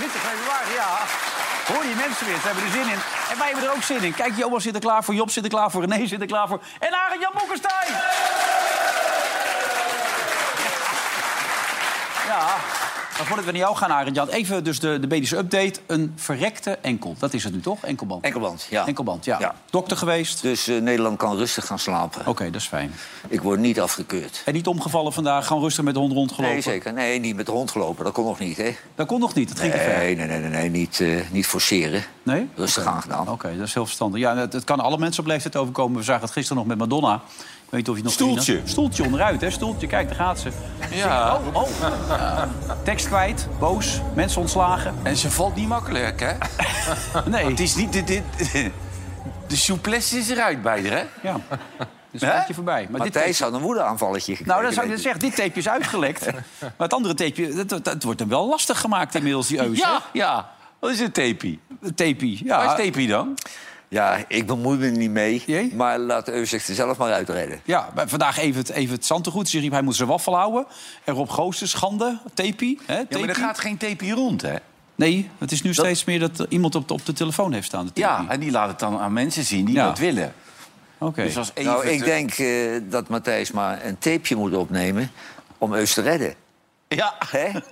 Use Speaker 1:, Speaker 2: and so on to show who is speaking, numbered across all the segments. Speaker 1: Witte februari, ja. Hoor je mensen weer, ze hebben er zin in. En wij hebben er ook zin in. Kijk, Johan zit er klaar voor, Job zit er klaar voor, René zit er klaar voor. En Arend Jan Boekenstein! Ja, maar voordat we naar jou gaan, Arend Jan, even dus de, de medische update. Een verrekte enkel, dat is het nu toch? Enkelband.
Speaker 2: Enkelband, ja.
Speaker 1: Enkelband, ja.
Speaker 2: Ja.
Speaker 1: Dokter geweest.
Speaker 2: Dus eh, Nederland kan rustig gaan slapen.
Speaker 1: Oké, dat is fijn.
Speaker 2: Ik word niet afgekeurd.
Speaker 1: En niet omgevallen vandaag, gewoon rustig met de hond rondgelopen.
Speaker 2: Nee, zeker. Nee, niet met de hond gelopen. Dat kon nog niet, hè?
Speaker 1: Dat kon nog niet, dat ging te ver.
Speaker 2: Nee, nee, nee, nee, nee. Niet, eh, niet forceren.
Speaker 1: Nee?
Speaker 2: Rustig aangedaan.
Speaker 1: Oké, dat is heel verstandig. Ja, het, het kan alle mensen op leeftijd overkomen. We zagen het gisteren nog met Madonna. Ik weet niet of je het nog
Speaker 3: Stoeltje.
Speaker 1: gezien had. Stoeltje onderuit, hè? Stoeltje, kijk, daar gaat ze.
Speaker 3: Ja,
Speaker 1: Oh, oh. Ja. tekst kwijt, boos, mensen ontslagen.
Speaker 3: en ze valt niet makkelijk, hè?
Speaker 1: Nee,
Speaker 3: Het is niet... Dit, dit, de souplesse is eruit bij haar, hè?
Speaker 1: ja. Dus een beetje voorbij. Maar dit
Speaker 2: Matthijs had een woedeaanvalletje
Speaker 1: nou,
Speaker 2: gekregen,
Speaker 1: dan zou je
Speaker 2: weet ik.
Speaker 1: zeggen, dit tape is uitgelekt. Maar het andere tapeje, dat, dat, dat wordt hem wel lastig gemaakt inmiddels, die eus.
Speaker 3: Ja, ja. Wat is het tapie?
Speaker 1: hè? Tape, ja.
Speaker 3: Waar is tapie dan?
Speaker 2: Ja, ik bemoei me niet mee.
Speaker 1: Jee?
Speaker 2: Maar laat Eus zich er zelf maar uitreden.
Speaker 1: Ja, maar vandaag even het, even het Zantegoed. Ze riep, hij moet zijn waffel houden. En Rob Goossen, schande, tapie. Hè,
Speaker 3: Ja, maar
Speaker 1: tapie.
Speaker 3: er gaat geen tapie rond, hè?
Speaker 1: Nee, het is nu steeds meer dat er iemand op de, op de telefoon heeft staan. de
Speaker 3: Ja,
Speaker 1: tapie.
Speaker 3: en die laat het dan aan mensen zien die
Speaker 1: Ja.
Speaker 3: dat willen.
Speaker 1: oké.
Speaker 3: Dus als even
Speaker 2: nou, ik
Speaker 3: te-
Speaker 2: denk eh, dat Matthijs maar een tapeje moet opnemen om Eus te redden.
Speaker 3: Ja.
Speaker 2: Hè?
Speaker 4: Nou,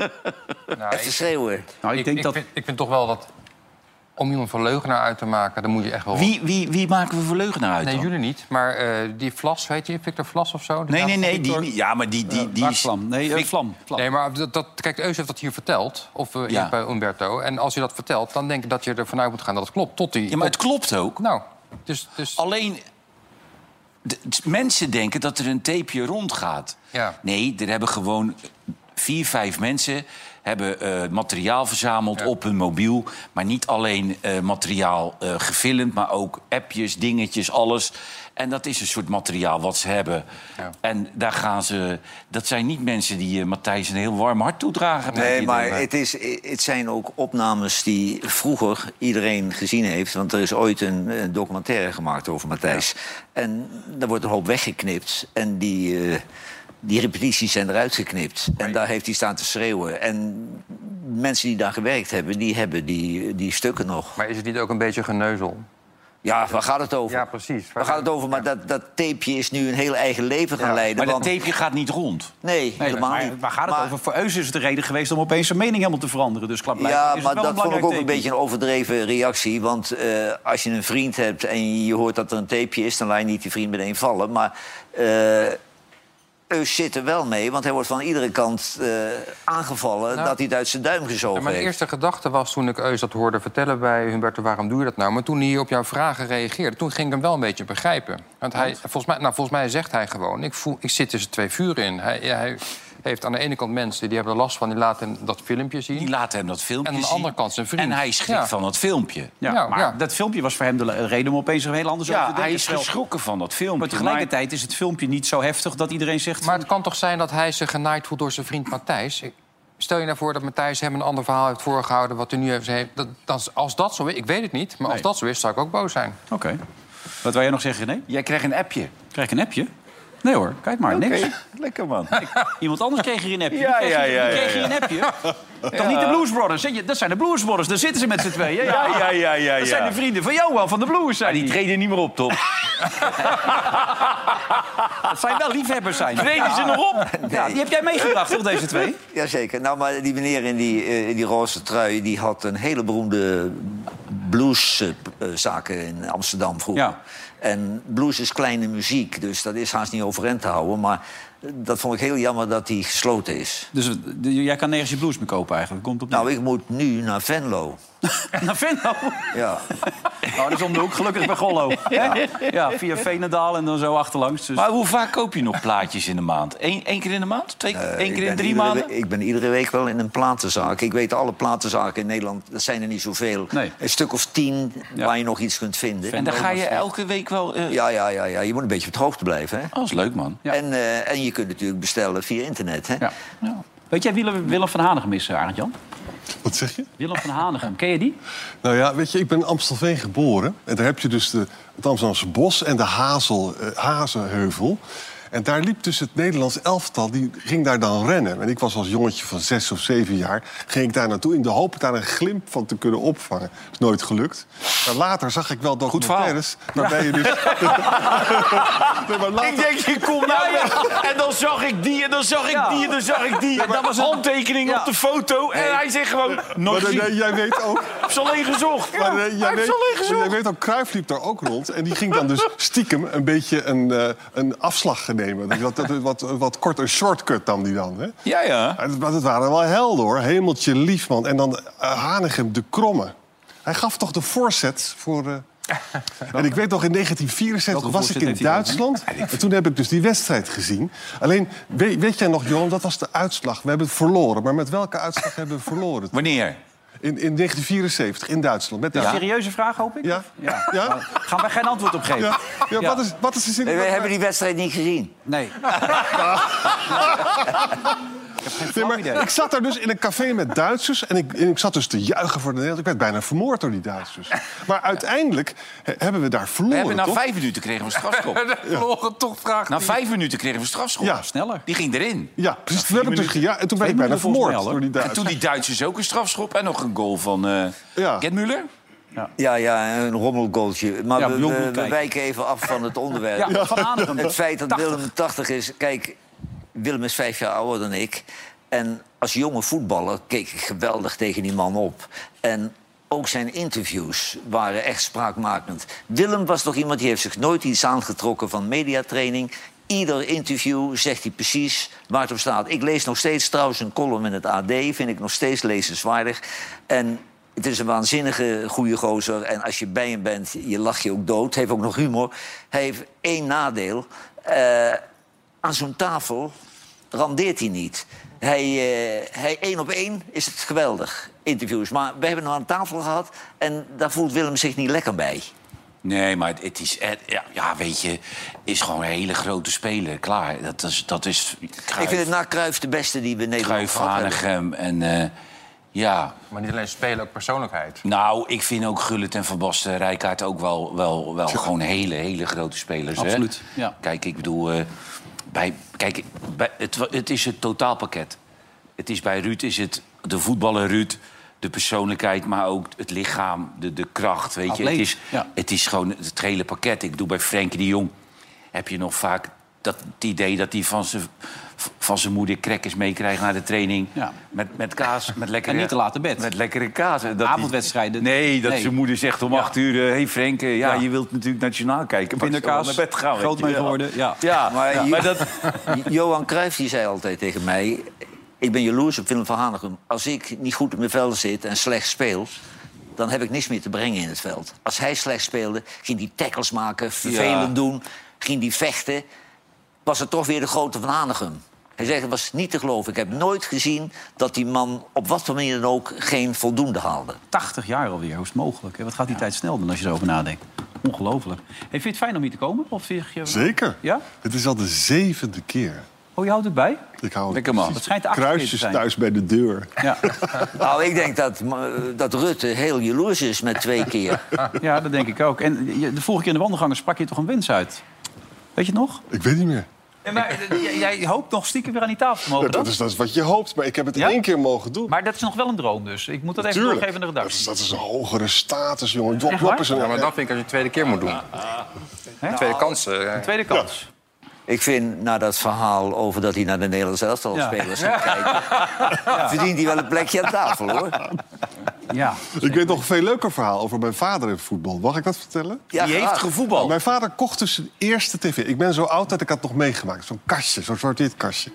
Speaker 2: Even
Speaker 4: ik,
Speaker 2: schreeuwen.
Speaker 1: nou, ik
Speaker 4: ik,
Speaker 1: denk
Speaker 4: ik
Speaker 1: dat...
Speaker 4: vind, ik vind toch wel dat... Om iemand voor leugenaar uit te maken, dan moet je echt wel...
Speaker 3: Wie, wie, wie maken we voor leugenaar uit
Speaker 4: Nee,
Speaker 3: dan?
Speaker 4: jullie niet. Maar eh, die Vlas, weet je? Victor Vlas of zo?
Speaker 3: Nee, nee, nee. Die, niet. ja, maar die... die, die,
Speaker 1: Waar vlam? Nee, eh, vlam. vlam.
Speaker 4: Nee, maar dat, dat, kijk, Eus heeft dat hier verteld. Of eh,
Speaker 3: Ja.
Speaker 4: hier bij Umberto. En als je dat vertelt, dan denk ik dat je ervan uit moet gaan dat het klopt. Tot die...
Speaker 3: Ja, maar het klopt ook.
Speaker 4: Nou, dus... dus
Speaker 3: Alleen, de- t- mensen denken dat er een tapeje rondgaat.
Speaker 4: Ja.
Speaker 3: Nee, er hebben gewoon vier, vijf mensen hebben eh, materiaal verzameld op hun mobiel. Maar niet alleen eh, materiaal eh, gefilmd, maar ook appjes, dingetjes, alles. En dat is een soort materiaal wat ze hebben.
Speaker 4: Ja.
Speaker 3: En daar gaan ze... Dat zijn niet mensen die eh, Matthijs een heel warm hart toedragen.
Speaker 2: Nee, maar het, is, het zijn ook opnames die vroeger iedereen gezien heeft. Want er is ooit een, eh, documentaire gemaakt over Matthijs. En daar wordt een hoop weggeknipt. En die, eh, die repetities zijn eruit geknipt. En daar heeft hij staan te schreeuwen. En mensen die daar gewerkt hebben, die hebben die, die stukken nog.
Speaker 4: Maar is het niet ook een beetje geneuzel?
Speaker 2: Ja, waar gaat het over?
Speaker 4: Ja, precies.
Speaker 2: Waar gaat het over? Maar dat, dat tapeje is nu een heel eigen leven gaan
Speaker 4: Ja,
Speaker 2: leiden.
Speaker 3: Maar dat
Speaker 2: want-
Speaker 3: tapeje gaat niet rond.
Speaker 2: Nee,
Speaker 1: Nee,
Speaker 2: helemaal
Speaker 1: maar
Speaker 2: niet.
Speaker 1: waar gaat het
Speaker 2: Maar-
Speaker 1: over? Voor Eus is het de reden geweest om opeens zijn mening helemaal te veranderen. Dus klaarblijkbaar
Speaker 2: Ja,
Speaker 1: is het
Speaker 2: maar
Speaker 1: wel
Speaker 2: dat
Speaker 1: een
Speaker 2: vond ik ook een
Speaker 1: belangrijk
Speaker 2: beetje een overdreven reactie. Want eh, als je een vriend hebt en je hoort dat er een tapeje is... dan laat je niet die vriend meteen vallen. Maar eh Eus zit er wel mee, want hij wordt van iedere kant eh, aangevallen...
Speaker 4: Nou,
Speaker 2: dat hij het uit zijn duim
Speaker 4: Ja,
Speaker 2: gezogen
Speaker 4: mijn
Speaker 2: heeft.
Speaker 4: eerste gedachte was toen ik Eus dat hoorde vertellen bij Humberto... waarom doe je dat nou? Maar toen hij op jouw vragen reageerde, toen ging ik hem wel een beetje begrijpen. Want hij, volgens, mij, nou, volgens mij zegt hij gewoon, ik, voel, ik zit tussen twee vuren in. Hij, hij heeft aan de ene kant mensen die hebben er last van, die laten hem dat filmpje zien.
Speaker 3: Die laat hem dat filmpje
Speaker 4: En aan de
Speaker 3: zien.
Speaker 4: andere kant zijn vriend.
Speaker 3: En hij schrikt
Speaker 4: Ja.
Speaker 3: van dat filmpje.
Speaker 1: Ja,
Speaker 4: Ja,
Speaker 1: maar
Speaker 4: ja.
Speaker 1: dat filmpje was voor hem de le- reden om opeens er heel anders over te
Speaker 3: Ja,
Speaker 1: denken.
Speaker 3: hij is
Speaker 1: Terwijl-
Speaker 3: geschrokken van dat filmpje.
Speaker 1: Maar tegelijkertijd is het filmpje niet zo heftig dat iedereen zegt...
Speaker 4: Maar het kan toch zijn dat hij zich genaaid voelt door zijn vriend Matthijs? Ik- Stel je nou voor dat Matthijs hem een ander verhaal heeft voorgehouden... wat hij nu heeft... heeft- Dat, dat is- als dat zo is, ik weet het niet, maar
Speaker 1: Nee.
Speaker 4: als dat zo is, zou ik ook boos zijn.
Speaker 1: Oké. Wat wil jij nog zeggen, René?
Speaker 3: Jij krijgt een appje.
Speaker 1: Krijg ik een appje? Nee hoor, kijk maar, niks.
Speaker 3: lekker man.
Speaker 1: Iemand anders kreeg hier een appje. Die
Speaker 3: Ja,
Speaker 1: kreeg
Speaker 3: ja,
Speaker 1: hier- die
Speaker 3: ja, ja,
Speaker 1: kreeg hier een appje. Toch niet de Blues Brothers? Zit je- Dat zijn de Blues Brothers, daar zitten ze met z'n tweeën. Ja,
Speaker 3: ja, ja, ja,
Speaker 1: Dat
Speaker 3: ja.
Speaker 1: zijn de vrienden van Johan van de Blues. Zijn
Speaker 3: Die
Speaker 1: die.
Speaker 3: treden niet meer op, Tom.
Speaker 1: Dat zijn wel liefhebbers zijn.
Speaker 3: Treden ze nog op?
Speaker 1: Ja, die heb jij meegebracht, toch, deze twee?
Speaker 2: Jazeker. Nou, maar die meneer in die, eh, in die roze trui... die had een hele beroemde eh, blueszaken in Amsterdam vroeger.
Speaker 1: Ja.
Speaker 2: En blues is kleine muziek, dus dat is haast niet overeind te houden. Maar eh, dat vond ik heel jammer dat die gesloten is.
Speaker 1: Dus eh, jij kan nergens je blues meer kopen eigenlijk. Komt op
Speaker 2: Nou, ik moet nu naar Venlo.
Speaker 1: Naar Venlo?
Speaker 2: Ja.
Speaker 1: Oh, dat is om de hoek. Gelukkig bij Gollo. Ja. ja, via Veenendaal en dan zo achterlangs. Dus...
Speaker 3: Maar hoe vaak koop je nog plaatjes in de maand? Eén één keer in de maand? Twee,
Speaker 2: Eh,
Speaker 3: één
Speaker 2: ik
Speaker 3: keer in
Speaker 2: ben
Speaker 3: drie
Speaker 2: iedere
Speaker 3: maanden?
Speaker 2: we- ik ben iedere week wel in een platenzaak. Ik weet alle platenzaken in Nederland, dat zijn er niet zoveel.
Speaker 1: Nee.
Speaker 2: Een stuk of tien waar je nog iets kunt vinden.
Speaker 3: En dan ga je elke week wel... eh,
Speaker 2: Ja, ja, ja, ja, je moet een beetje op het hoogte blijven. Hè?
Speaker 3: Oh, dat is leuk, man.
Speaker 1: Ja.
Speaker 2: En, eh, en je kunt natuurlijk bestellen via internet. Hè?
Speaker 1: Ja. Weet jij Willem, Willem van Hanegem is, eh, Arend Jan?
Speaker 5: Wat zeg je?
Speaker 1: Willem van Hanegem, ken je die?
Speaker 5: Nou ja, weet je, ik ben in Amstelveen geboren. En daar heb je dus de, het Amsterdamse bos en de Hazel, eh, Hazenheuvel. En daar liep dus het Nederlands elftal, die ging daar dan rennen. En ik was als jongetje van zes of zeven jaar, ging ik daar naartoe... in de hoop daar een glimp van te kunnen opvangen. is nooit gelukt. Maar later zag ik wel documentaires waarbij je dus... nee, maar later,
Speaker 3: je komt nou En dan zag ik die, en dan zag ik
Speaker 1: Ja.
Speaker 3: en dan zag ik die. En dat was handtekening
Speaker 1: Ja.
Speaker 3: foto. En hij zegt gewoon...
Speaker 5: maar,
Speaker 3: Nog
Speaker 5: nee,
Speaker 3: gezien.
Speaker 5: nee, jij weet ook...
Speaker 3: Ik heb ze alleen gezocht.
Speaker 5: Maar eh,
Speaker 3: Ja, hij
Speaker 5: jij,
Speaker 3: heeft
Speaker 5: weet,
Speaker 3: ze alleen
Speaker 5: jij
Speaker 3: gezocht.
Speaker 5: weet ook, Cruijff liep daar ook rond. En die ging dan dus stiekem een beetje een, eh, een afslag nemen. Dus dat, dat, wat, wat kort, een shortcut nam die dan. Hè?
Speaker 3: Ja, ja.
Speaker 5: Maar dat- Maar dat waren wel helden hoor. Hemeltje lief man. En dan eh, Hanegem de Kromme. Hij gaf toch de voorzet voor... eh, en ik weet nog, in 1974 was
Speaker 1: voorzet
Speaker 5: ik in
Speaker 1: heeft hij dan, hè?
Speaker 5: Duitsland. En toen heb ik dus die wedstrijd gezien. Alleen, weet, weet jij nog, Johan, dat was de uitslag. We hebben het verloren. Maar met welke uitslag hebben we verloren?
Speaker 3: Wanneer?
Speaker 5: In, in 1974, in Duitsland. Met de
Speaker 1: Een serieuze vraag, hoop ik?
Speaker 5: ja?
Speaker 1: Ja.
Speaker 5: Ja? Ja?
Speaker 1: Gaan wij geen antwoord op geven?
Speaker 5: ja?
Speaker 1: Ja.
Speaker 5: Wat, is, wat is de zin?
Speaker 2: Nee, wij hebben die wedstrijd niet gezien.
Speaker 1: Nee.
Speaker 5: Nee, maar ik zat daar dus in een café met Duitsers en ik, en ik zat dus te juichen voor de Nederland. Ik werd bijna vermoord door die Duitsers. Maar uiteindelijk he- hebben we daar
Speaker 3: We
Speaker 5: verloren,
Speaker 3: hebben na
Speaker 5: toch?
Speaker 3: vijf minuten kregen we een strafschop.
Speaker 4: Morgen toch vraag.
Speaker 3: Na vijf minuten kregen we een strafschop.
Speaker 5: Ja.
Speaker 1: Sneller.
Speaker 3: Die ging erin.
Speaker 5: Ja, precies. Toen heb ik dus gejuicht en toen ben ik
Speaker 1: minuten
Speaker 5: bijna
Speaker 1: volgens
Speaker 5: vermoord
Speaker 1: mij al, hoor.
Speaker 5: door die
Speaker 3: En toen
Speaker 5: Duitsers.
Speaker 3: die Duitsers ook een strafschop en nog een goal van eh
Speaker 5: Ja.
Speaker 3: Gerd Müller.
Speaker 2: Ja, ja, een rommelgoaltje. Maar
Speaker 1: Ja,
Speaker 2: we,
Speaker 1: jong
Speaker 2: we-
Speaker 1: moet
Speaker 2: we
Speaker 1: kijken.
Speaker 2: wijken even af van het onderwerp.
Speaker 1: Ja, Van Hanegem.
Speaker 2: Het feit dat
Speaker 1: 80.
Speaker 2: Willem 80 is... Kijk, Willem is vijf jaar ouder dan ik. En als jonge voetballer keek ik geweldig tegen die man op. En ook zijn interviews waren echt spraakmakend. Willem was toch iemand die heeft zich nooit iets aangetrokken van mediatraining... Ieder interview zegt hij precies waar het op staat. Ik lees nog steeds trouwens een column in het AD. Vind ik nog steeds lezenswaardig. En het is een waanzinnige goede gozer. En als je bij hem bent, je lacht je ook dood. Hij heeft ook nog humor. Hij heeft één nadeel. Eh, aan zo'n tafel randeert hij niet. Hij, eh, hij één op één is het geweldig, interviews. Maar we hebben hem aan tafel gehad en daar voelt Willem zich niet lekker bij.
Speaker 3: Nee, maar het- het is... eh, ja, ja, weet je, is gewoon een hele grote speler. Klaar, dat is... Dat is
Speaker 2: Ik vind het na Cruijff de beste die we in Nederland
Speaker 3: Cruijff,
Speaker 2: gehad hebben.
Speaker 3: Hanegem en... eh, ja,
Speaker 4: Maar niet alleen spelen, ook persoonlijkheid.
Speaker 3: nou, ik vind ook Gullit en Van Basten, Rijkaard ook wel, wel, wel gewoon hele, hele grote spelers. hè?
Speaker 1: Absoluut, ja.
Speaker 3: Kijk, ik bedoel, eh, bij, kijk, bij, het, wa- het is het totaalpakket. Het is bij Ruud is het de voetballer Ruud, de persoonlijkheid, maar ook het lichaam, de, de kracht, weet je.
Speaker 1: Atleet,
Speaker 3: Het is,
Speaker 1: ja.
Speaker 3: het is gewoon het hele pakket. Ik bedoel, bij Frenkie de Jong heb je nog vaak dat, het idee dat hij van zijn van zijn moeder crackers meekrijgt naar de training.
Speaker 1: Ja.
Speaker 3: Met, met kaas, met lekkere...
Speaker 1: En niet te laat te bed.
Speaker 3: Met lekkere kaas. En dat die-
Speaker 1: Avondwedstrijden.
Speaker 3: Nee, dat
Speaker 1: Nee.
Speaker 3: zijn moeder zegt om acht uur... Hé hey Frank, eh, ja,
Speaker 1: Ja.
Speaker 3: je wilt natuurlijk nationaal kijken. Maar ik zal wel
Speaker 1: Pindakaas,
Speaker 3: naar bed gaan. weet
Speaker 1: groot
Speaker 3: je
Speaker 1: mee
Speaker 3: wel.
Speaker 1: geworden, ja.
Speaker 3: Ja,
Speaker 2: Maar
Speaker 3: maar,
Speaker 2: je-
Speaker 3: dat...
Speaker 2: Johan Cruijff die zei altijd tegen mij... ik ben jaloers op Willem van Hanegem. Als ik niet goed op mijn veld zit en slecht speel... dan heb ik niks meer te brengen in het veld. Als hij slecht speelde, ging hij tackles maken, vervelend
Speaker 3: Ja.
Speaker 2: doen... ging hij vechten, was het toch weer de grote van Hanegem. Hij zegt, het was niet te geloven. Ik heb nooit gezien dat die man op wat voor manier dan ook... geen voldoende haalde.
Speaker 1: 80 jaar alweer, hoe is het mogelijk? hè? Wat gaat die tijd snel dan als je erover nadenkt? Ongelooflijk. Hey, vind je het fijn om hier te komen? Of vind je...
Speaker 5: Zeker.
Speaker 1: Ja?
Speaker 5: Het is al de zevende keer.
Speaker 1: Oh, je houdt het bij?
Speaker 5: Ik hou
Speaker 3: Lekker man.
Speaker 1: Het schijnt de achtste keer te
Speaker 5: kruisjes
Speaker 1: zijn.
Speaker 5: thuis bij de deur.
Speaker 1: Ja.
Speaker 2: Nou, ik denk dat, eh, dat Rutte heel jaloers is met twee keer.
Speaker 1: ja, dat denk ik ook. En je- de vorige keer in de wandelgangen sprak je toch een wens uit? Weet je het nog?
Speaker 5: Ik weet niet meer.
Speaker 1: maar,
Speaker 3: eh,
Speaker 1: jij, hoopt nog stiekem weer aan die tafel te mogen,
Speaker 5: dat, is, dat is wat je hoopt, maar ik heb het
Speaker 1: Ja?
Speaker 5: één keer mogen doen.
Speaker 1: Maar dat is nog wel een droom dus. Ik moet dat even
Speaker 5: Tuurlijk.
Speaker 1: doorgeven naar de
Speaker 5: dat, is,
Speaker 1: Duitsers.
Speaker 5: dat is een hogere status, jongen. Dwop,
Speaker 1: Echt waar?
Speaker 5: dwop is een-
Speaker 4: Ja, maar dat vind ik als je het tweede keer moet doen. Tweede kansen. eh.
Speaker 1: Tweede kans.
Speaker 2: Ik vind, na dat verhaal over dat hij naar de Nederlandse elftal
Speaker 1: Ja.
Speaker 2: spelers gaat kijken... verdient hij wel een plekje aan tafel, hoor.
Speaker 1: Ja.
Speaker 5: Ik weet nog een veel leuker verhaal over mijn vader in voetbal. Mag ik dat vertellen?
Speaker 2: Ja,
Speaker 3: Die heeft
Speaker 2: graag.
Speaker 3: gevoetbald.
Speaker 5: Mijn vader kocht dus zijn eerste tv. Ik ben zo oud dat ik had nog meegemaakt. Zo'n kastje, zo'n zwart-wit kastje.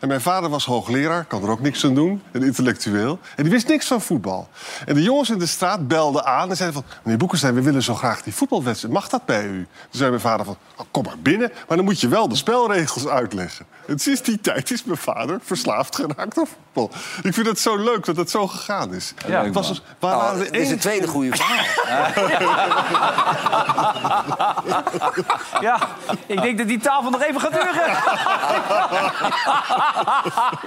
Speaker 5: En mijn vader was hoogleraar, kan er ook niks aan doen. Een intellectueel. En die wist niks van voetbal. En de jongens in de straat belden aan en zeiden van... meneer Boekenstein, we willen zo graag die voetbalwedstrijd. Mag dat bij u? Toen zei mijn vader van, "Oh, kom maar binnen. Maar dan moet je wel de spelregels uitleggen. En sinds die tijd is mijn vader verslaafd geraakt aan voetbal. Ik vind het zo leuk dat het zo gegaan is.
Speaker 1: Ja,
Speaker 5: het was dus, we
Speaker 2: Nou,
Speaker 5: waren de
Speaker 2: dit is
Speaker 5: enige-
Speaker 2: het tweede goede verhaal.
Speaker 1: Ja, ik denk dat die tafel nog even gaat duren.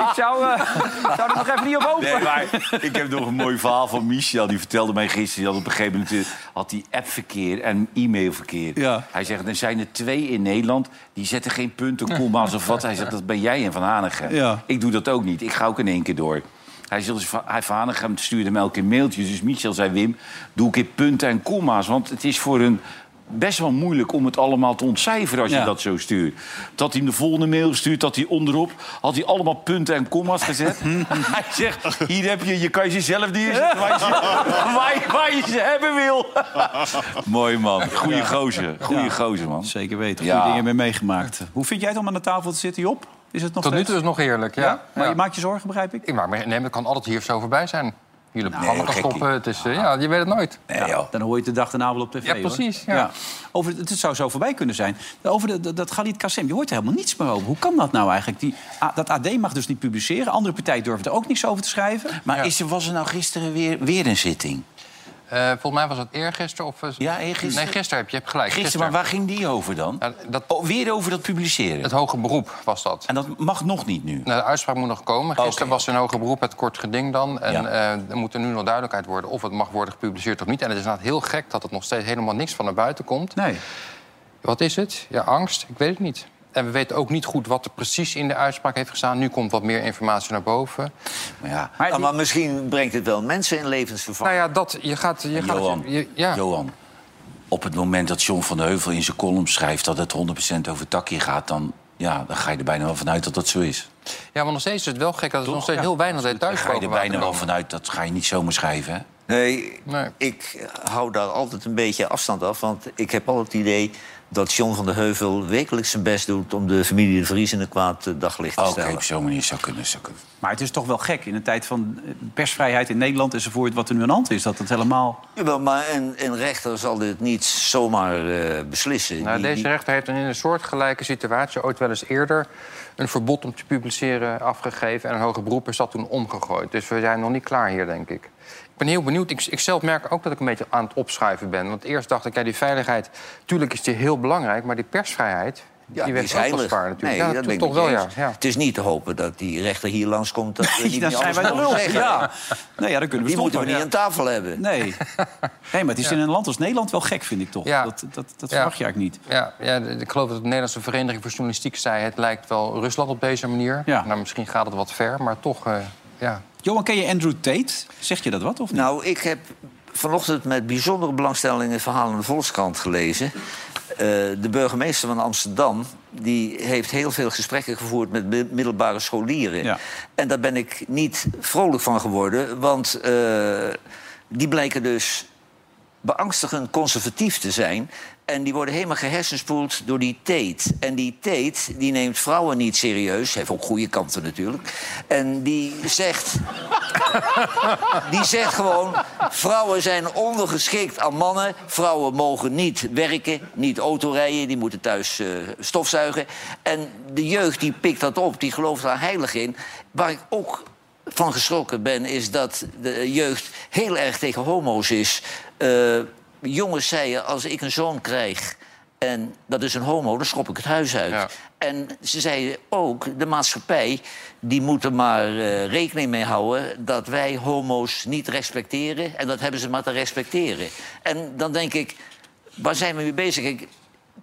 Speaker 1: ik zou, eh, ik zou er nog even niet op open.
Speaker 3: Nee, maar ik heb nog een mooi verhaal van Michel. Die vertelde mij gisteren dat op een gegeven moment eh, had hij appverkeer en e-mailverkeer.
Speaker 1: Ja.
Speaker 3: Hij zegt, er zijn er twee in Nederland die zetten geen punten, komma's of wat. Hij zegt, dat ben jij en Van Hanegem.
Speaker 1: Ja.
Speaker 3: Ik doe dat ook niet. Ik ga ook in één keer door. Hij zegt, dus Van hij- Van Hanegem stuurde hem elke keer mailtjes. Dus Michel zei, Wim, doe een keer punten en komma's. Want het is voor een... Best wel moeilijk om het allemaal te ontcijferen als
Speaker 1: Ja.
Speaker 3: je dat zo stuurt. Dat hij hem de volgende mail stuurt, dat hij onderop... had hij allemaal punten en komma's gezet. hij zegt, hier heb je, je kan jezelf neerzetten waar je, waar je, waar je ze hebben wil. Mooi man, goeie gozer, goeie
Speaker 1: Ja.
Speaker 3: gozer man.
Speaker 1: Zeker weten,
Speaker 3: Ja.
Speaker 1: goede dingen mee meegemaakt. Hoe vind jij het om aan de tafel te zitten, Job? Is het nog
Speaker 4: Tot nu
Speaker 1: steeds-
Speaker 4: toe is het nog heerlijk, ja.
Speaker 1: Ja? Maar
Speaker 4: Ja.
Speaker 1: je maakt je zorgen, begrijp ik?
Speaker 4: Ik maak me, nee, maar het kan altijd hier of zo voorbij zijn. Jullie programma kan
Speaker 3: gekkie.
Speaker 4: stoppen. Het is, eh, ja, je weet het nooit.
Speaker 3: Nee, joh.
Speaker 1: Dan hoor je het de dag daarna wel op tv.
Speaker 4: Ja,
Speaker 1: hoor.
Speaker 4: precies, ja.
Speaker 1: Over, het zou zo voorbij kunnen zijn. Over de, dat- dat Galit Kassem, je hoort er helemaal niets meer over. Hoe kan dat nou eigenlijk? Die, A- dat AD mag dus niet publiceren. Andere partijen durven er ook niks over te schrijven.
Speaker 3: Maar is er, was er nou gisteren weer, weer een zitting?
Speaker 4: Eh, volgens mij was het eergisteren of... eh,
Speaker 3: Ja, eergisteren.
Speaker 4: Nee, gisteren heb je, je hebt gelijk.
Speaker 3: Gisteren, maar waar ging die over dan?
Speaker 4: Ja, dat-
Speaker 3: Oh, weer over dat publiceren.
Speaker 4: Het hoge beroep was dat.
Speaker 3: En dat mag nog niet nu.
Speaker 4: Nou, de uitspraak moet nog komen. Gisteren
Speaker 3: Oké.
Speaker 4: was een hoger beroep, het kort geding dan. En
Speaker 3: Ja.
Speaker 4: eh, er moet er nu nog duidelijkheid worden of het mag worden gepubliceerd of niet. En het is inderdaad heel gek dat het nog steeds helemaal niks van naar buiten komt.
Speaker 1: Nee.
Speaker 4: Wat is het? Ja, angst? Ik weet het niet. En we weten ook niet goed wat er precies in de uitspraak heeft gestaan. Nu komt wat meer informatie naar boven.
Speaker 3: Maar ja,
Speaker 1: Maar
Speaker 2: Ja,
Speaker 1: die-
Speaker 2: maar misschien brengt het wel mensen in levensgevaar.
Speaker 4: Nou ja, dat, je gaat... Je gaat
Speaker 3: Johan,
Speaker 4: je- ja.
Speaker 3: Johan, op het moment dat John van de Heuvel in zijn column schrijft... dat het 100% over Takkie gaat, dan, ja, dan ga je er bijna wel vanuit dat dat zo is.
Speaker 4: ja, maar nog steeds is het wel gek dat er nog steeds heel weinig
Speaker 3: Dan
Speaker 4: details
Speaker 3: ga je er
Speaker 4: boven water
Speaker 3: bijna wel
Speaker 4: komen.
Speaker 3: vanuit, dat ga je niet zomaar schrijven, hè?
Speaker 2: Nee,
Speaker 4: Nee.
Speaker 2: ik hou daar altijd een beetje afstand af. Want ik heb altijd het idee dat John van der Heuvel wekelijks zijn best doet... om de familie de Vries in een kwaad eh, daglicht te
Speaker 3: Oké,
Speaker 2: stellen.
Speaker 3: op zo'n manier zou kunnen, zou kunnen.
Speaker 1: Maar het is toch wel gek in een tijd van eh, persvrijheid in Nederland enzovoort... wat er nu aan de hand is, dat het helemaal...
Speaker 2: Jawel, maar een, een rechter zal dit niet zomaar eh, beslissen.
Speaker 4: Nou,
Speaker 2: Die-
Speaker 4: deze
Speaker 2: die-
Speaker 4: rechter heeft in een soortgelijke situatie ooit wel eens eerder een verbod om te publiceren afgegeven. En een hoger beroep is dat toen omgegooid. Dus we zijn nog niet klaar hier, denk ik. Ik ben heel benieuwd. Ik, ik zelf merk ook dat ik een beetje aan het opschuiven ben. Want eerst dacht ik, ja, die veiligheid, tuurlijk is die heel belangrijk. Maar die persvrijheid,
Speaker 2: ja,
Speaker 4: die
Speaker 2: die
Speaker 4: werd
Speaker 2: is
Speaker 4: ook wel
Speaker 2: heilig.
Speaker 4: zwaar natuurlijk.
Speaker 2: Nee,
Speaker 4: ja,
Speaker 2: dat
Speaker 4: to-
Speaker 2: ben ik
Speaker 4: toch
Speaker 2: met
Speaker 4: wel,
Speaker 2: je
Speaker 4: ja.
Speaker 2: eens.
Speaker 4: ja.
Speaker 2: Het is niet te hopen dat die rechter hier langskomt... dat we niet
Speaker 1: Dan
Speaker 2: meer
Speaker 1: zijn
Speaker 2: alles
Speaker 1: wij de
Speaker 2: mogen
Speaker 1: lul.
Speaker 2: zeggen.
Speaker 1: Ja. Nou ja, dan kunnen we
Speaker 2: Die moeten
Speaker 1: stoppen.
Speaker 2: we niet aan tafel hebben.
Speaker 1: Nee. nee, maar het is in een land als Nederland wel gek, vind ik toch.
Speaker 4: Ja.
Speaker 1: Dat, dat, dat
Speaker 4: Ja.
Speaker 1: verwacht je eigenlijk niet.
Speaker 4: Ja, ja, d- ik geloof dat de Nederlandse Vereniging voor Journalistiek zei... het lijkt wel Rusland op deze manier.
Speaker 1: Ja.
Speaker 4: Nou, misschien gaat het wat ver, maar toch, eh, ja.
Speaker 1: Johan, ken je Andrew Tate? Zeg je dat wat, of niet?
Speaker 2: Nou, ik heb vanochtend met bijzondere belangstelling het verhaal in de Volkskrant gelezen. Eh, de burgemeester van Amsterdam die heeft heel veel gesprekken gevoerd met mi- middelbare scholieren.
Speaker 1: Ja.
Speaker 2: En daar ben ik niet vrolijk van geworden, want eh, die blijken dus beangstigend conservatief te zijn. En die worden helemaal gehersenspoeld door die Tate. En die Tate die neemt vrouwen niet serieus. Heeft ook goede kanten natuurlijk. En die zegt... Die zegt gewoon, vrouwen zijn ondergeschikt aan mannen. Vrouwen mogen niet werken, niet autorijden. Die moeten thuis eh, stofzuigen. En de jeugd die pikt dat op, die gelooft daar heilig in. Waar ik ook van geschrokken ben, is dat de jeugd heel erg tegen homo's is. Eh, jongens zeiden, als ik een zoon krijg... en dat is een homo, dan schop ik het huis uit.
Speaker 4: Ja.
Speaker 2: En ze zeiden ook, de maatschappij die moet er maar eh, rekening mee houden... dat wij homo's niet respecteren en dat hebben ze maar te respecteren. En dan denk ik, waar zijn we mee bezig? Ik,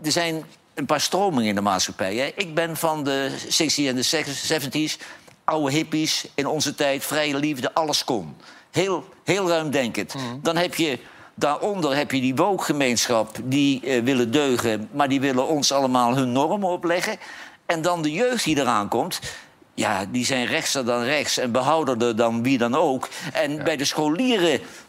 Speaker 2: er zijn een paar stromingen in de maatschappij. Hè? Ik ben van de 60s en de 70s, oude hippies in onze tijd, vrije liefde, alles kon. Heel, heel ruimdenkend.
Speaker 1: Mhm.
Speaker 2: Dan heb je Daaronder heb je die wookgemeenschap, die eh, willen deugen... maar die willen ons allemaal hun normen opleggen. En dan de jeugd die eraan komt, Ja, die zijn rechtser dan rechts en behouderder dan wie dan ook. En bij de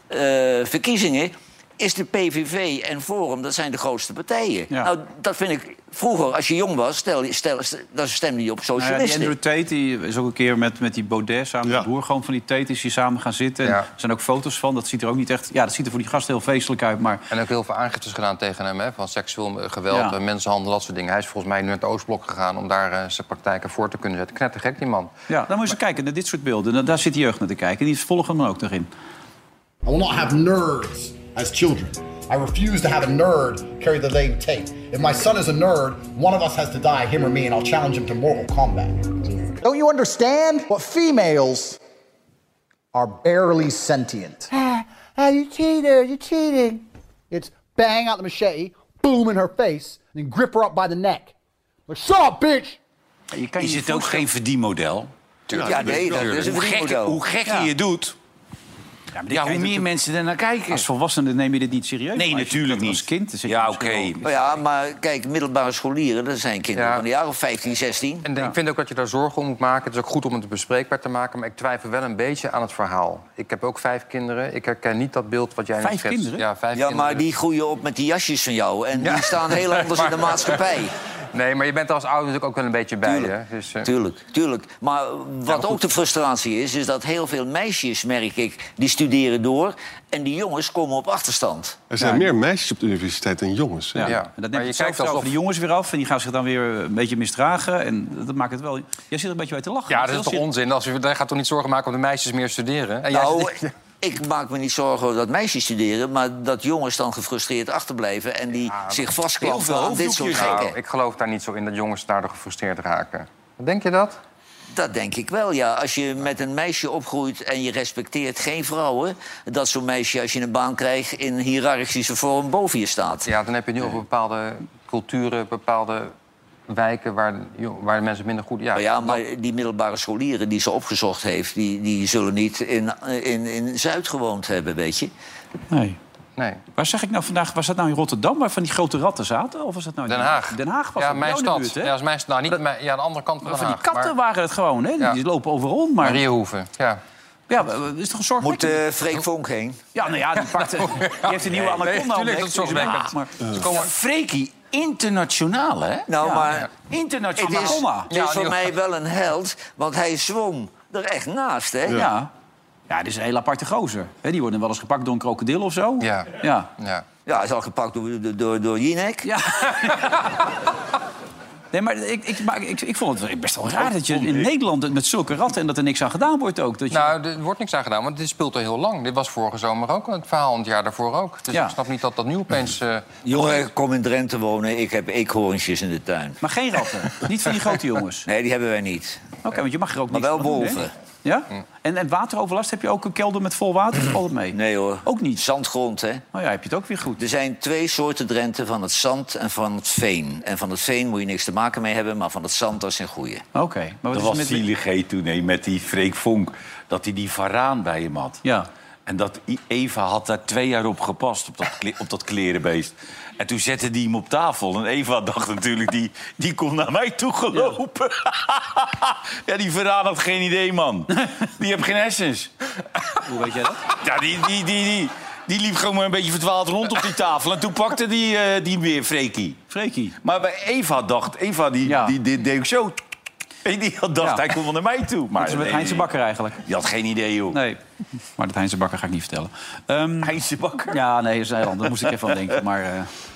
Speaker 2: scholierenverkiezingen is de PVV en Forum, dat zijn de grootste partijen.
Speaker 1: Ja.
Speaker 2: Nou, dat vind ik... Vroeger, als je jong was, stel, stel, dan stemde je op
Speaker 1: Nou ja, die
Speaker 2: socialisten.
Speaker 1: Andrew Tate die is ook een keer met, met die Baudet samen,
Speaker 5: Ja.
Speaker 1: de broer gewoon van die Tate, is hier samen gaan zitten. En
Speaker 4: Ja.
Speaker 1: Er zijn ook foto's van, dat ziet er ook niet echt... Ja, dat ziet er voor die gasten heel feestelijk uit, maar...
Speaker 4: En ook heel veel aangiftes gedaan tegen hem, hè, van seksueel eh, geweld,
Speaker 1: Ja.
Speaker 4: eh, mensenhandel, dat soort dingen. Hij is volgens mij nu naar het Oostblok gegaan om daar eh, zijn praktijken voor te kunnen zetten. Knettergek, die man.
Speaker 1: Ja, dan moet je eens kijken naar dit soort beelden. Nou, Daar zit de jeugd naar te kijken. Die volgen hem ook nog in.
Speaker 6: I will not have nerds as children. I refuse to have a nerd carry the name tape. If my son is a nerd, one of us has to die, him or me, and I'll challenge him to Mortal Kombat. Don't you understand? But females are barely sentient. Ah, ah, you cheated, you cheating. It's bang out the machete, boom in her face, and then grip her up by the neck. Like, shut up, bitch!
Speaker 1: Je kan je
Speaker 3: Is
Speaker 1: niet
Speaker 3: het ook
Speaker 1: voorstellen.
Speaker 3: geen verdienmodel?
Speaker 2: Ja, nee, dat is een
Speaker 3: Hoe gekker,
Speaker 2: verdienmodel.
Speaker 3: hoe gekker je het doet,
Speaker 1: Ja, maar dit
Speaker 3: ja,
Speaker 1: kijk
Speaker 3: hoe
Speaker 1: je
Speaker 3: meer
Speaker 1: natuurlijk-
Speaker 3: mensen er naar kijken.
Speaker 1: Als volwassene neem je dit niet serieus.
Speaker 3: Nee,
Speaker 1: maar als je
Speaker 3: natuurlijk
Speaker 1: dat
Speaker 3: niet.
Speaker 1: Als kind dan zit je
Speaker 3: Ja,
Speaker 1: misschien
Speaker 3: oké.
Speaker 1: wel-
Speaker 2: Nou ja, maar kijk, middelbare scholieren, dat zijn kinderen
Speaker 4: Ja.
Speaker 2: van de jaren 15, 16.
Speaker 4: En ik vind ook dat je daar zorgen om moet maken. Het is ook goed om het bespreekbaar te maken. Maar ik twijfel wel een beetje aan het verhaal. Ik heb ook vijf kinderen. Ik herken niet dat beeld wat jij nu
Speaker 1: Vijf
Speaker 4: schetst.
Speaker 1: kinderen?
Speaker 4: Ja, vijf
Speaker 2: Ja,
Speaker 4: kinderen.
Speaker 2: maar die groeien op met die jasjes van jou. En die staan heel anders in de maatschappij.
Speaker 4: Nee, maar je bent er als ouder natuurlijk ook wel een beetje bij. Hè? Dus, eh,
Speaker 2: Tuurlijk, tuurlijk. Maar wat ook de frustratie is, is dat heel veel meisjes, merk ik, die studeren door. En die jongens komen op achterstand.
Speaker 5: Er zijn meer meisjes op de universiteit dan jongens. hè?
Speaker 1: Ja.
Speaker 4: Ja.
Speaker 1: En dat
Speaker 4: Maar
Speaker 1: neemt
Speaker 4: je
Speaker 1: het zelf
Speaker 4: kijkt
Speaker 1: over
Speaker 4: alsof-
Speaker 1: de jongens weer af. En die gaan zich dan weer een beetje misdragen. En dat maakt het wel... Jij zit er een beetje bij te lachen. Dus
Speaker 4: ja,
Speaker 1: Dat
Speaker 4: dat is toch
Speaker 1: heel
Speaker 4: onzin? Als je, daar gaat toch niet zorgen maken om de meisjes meer studeren? En jij
Speaker 2: Nou,
Speaker 4: zit-
Speaker 2: ik maak me niet zorgen dat meisjes studeren, maar dat jongens dan gefrustreerd achterblijven en die zich vastklampen aan dit soort
Speaker 4: Nou,
Speaker 2: gekken.
Speaker 4: ik geloof daar niet zo in dat jongens daardoor gefrustreerd raken. Denk je dat?
Speaker 2: Dat denk ik wel, ja. Als je met een meisje opgroeit en je respecteert geen vrouwen... dat zo'n meisje, als je een baan krijgt, in hiërarchische vorm boven je staat.
Speaker 4: Ja, dan heb je nu over bepaalde culturen, bepaalde wijken waar, jo- waar mensen minder goed...
Speaker 1: Oh
Speaker 4: Ja,
Speaker 2: Maar Nou ja, maar die middelbare scholieren die ze opgezocht heeft... die, die zullen niet in, in, in Zuid gewoond hebben, weet je.
Speaker 1: zin. Nee.
Speaker 4: Nee.
Speaker 1: Waar zeg ik nou vandaag? Was dat nou in Rotterdam, waar van die grote ratten zaten? Of was dat nou in
Speaker 4: Den Haag.
Speaker 1: Den Haag was
Speaker 4: ja,
Speaker 1: dat,
Speaker 4: mijn
Speaker 1: jouw
Speaker 4: stad.
Speaker 1: buurt, hè?
Speaker 4: ja, dat is mijn stad. Nou, niet mijn, ja, aan de andere kant van, Den
Speaker 1: van die
Speaker 4: Haag.
Speaker 1: katten
Speaker 4: maar
Speaker 1: waren het gewoon, hè? Die,
Speaker 4: Ja.
Speaker 1: die lopen overal rond. Maar
Speaker 4: Riehoeven, ja.
Speaker 1: ja, dat is toch een zorg.
Speaker 2: Moet eh Freek Vonk heen?
Speaker 1: Ja, nou ja, die, pakte, die heeft een nieuwe
Speaker 4: Nee,
Speaker 1: anaconda
Speaker 4: tuurlijk,
Speaker 1: ontdekt.
Speaker 4: dat is zorgwekkend.
Speaker 1: Ja, maar,
Speaker 3: Freekie, internationaal, hè?
Speaker 2: Nou, maar het
Speaker 3: Internationaal.
Speaker 2: is,
Speaker 1: Anaconda.
Speaker 2: het is voor mij wel een held, want hij zwom er echt naast, hè.
Speaker 1: ja. ja. dit is een hele aparte gozer. Hè, die worden wel eens gepakt door een krokodil of zo.
Speaker 4: Ja.
Speaker 1: ja.
Speaker 4: ja.
Speaker 2: Ja, hij is al gepakt door, door- door, door Jinek.
Speaker 1: Ja. Nee, maar ik, ik, maar ik, ik vond het best wel raar dat je in Nederland met zulke ratten... en dat er niks aan gedaan wordt ook. Dat je,
Speaker 4: Nou, er wordt niks aan gedaan, want dit speelt al heel lang. Dit was vorige zomer ook, het verhaal en het jaar daarvoor ook. Dus
Speaker 1: Ja.
Speaker 4: ik snap niet dat dat nu opeens... eh,
Speaker 2: Jongen, kom in Drenthe wonen, ik heb eekhoorntjes in de tuin.
Speaker 1: Maar geen ratten. Niet van die grote jongens.
Speaker 2: Nee, die hebben wij niet.
Speaker 1: Oké, want je mag er ook
Speaker 2: Maar
Speaker 1: niks
Speaker 2: wel
Speaker 1: van doen, hè?
Speaker 2: wolven.
Speaker 1: Ja? En, en wateroverlast, heb je ook een kelder met vol water? Valt het mee?
Speaker 2: Nee hoor.
Speaker 1: Ook niet.
Speaker 2: Zandgrond, hè?
Speaker 1: Nou ja, heb je het ook weer goed.
Speaker 2: Er zijn twee soorten drenten, van het zand en van het veen. En van het veen moet je niks te maken mee hebben, maar van het zand dat is een goeie.
Speaker 1: Oké. Maar Oh, wat
Speaker 3: Dat
Speaker 1: is
Speaker 3: was
Speaker 1: er met...
Speaker 3: zieligheid toen, hè, met die Freek Vonk. Dat hij die varaan bij hem had.
Speaker 1: Ja.
Speaker 3: En dat I- Eva had daar twee jaar op gepast, op dat, kle- op dat klerenbeest. En toen zette die hem op tafel. En Eva dacht natuurlijk, die, die komt naar mij toe gelopen. Ja, die varaan had geen idee, man. Die heeft geen hersens.
Speaker 1: Hoe weet jij dat?
Speaker 3: Ja, die, die, die, die, die liep gewoon maar een beetje verdwaald rond op die tafel. En toen pakte die, eh, die weer Freekie.
Speaker 1: Freekie.
Speaker 3: Maar bij Eva dacht, Eva die,
Speaker 1: Ja.
Speaker 3: die, die deed ook zo. En die had dacht,
Speaker 1: Ja.
Speaker 3: hij komt wel naar mij toe. Maar
Speaker 1: Dat is met
Speaker 3: nee,
Speaker 1: Heinze
Speaker 3: die-
Speaker 1: Bakker eigenlijk.
Speaker 3: Die had geen idee, joh.
Speaker 1: Nee. Maar dat Heinze Bakker ga ik niet vertellen. Ehm,
Speaker 3: Heinze Bakker?
Speaker 1: ja, nee, dat is een heel ander. Daar moest ik even aan denken. Maar eh,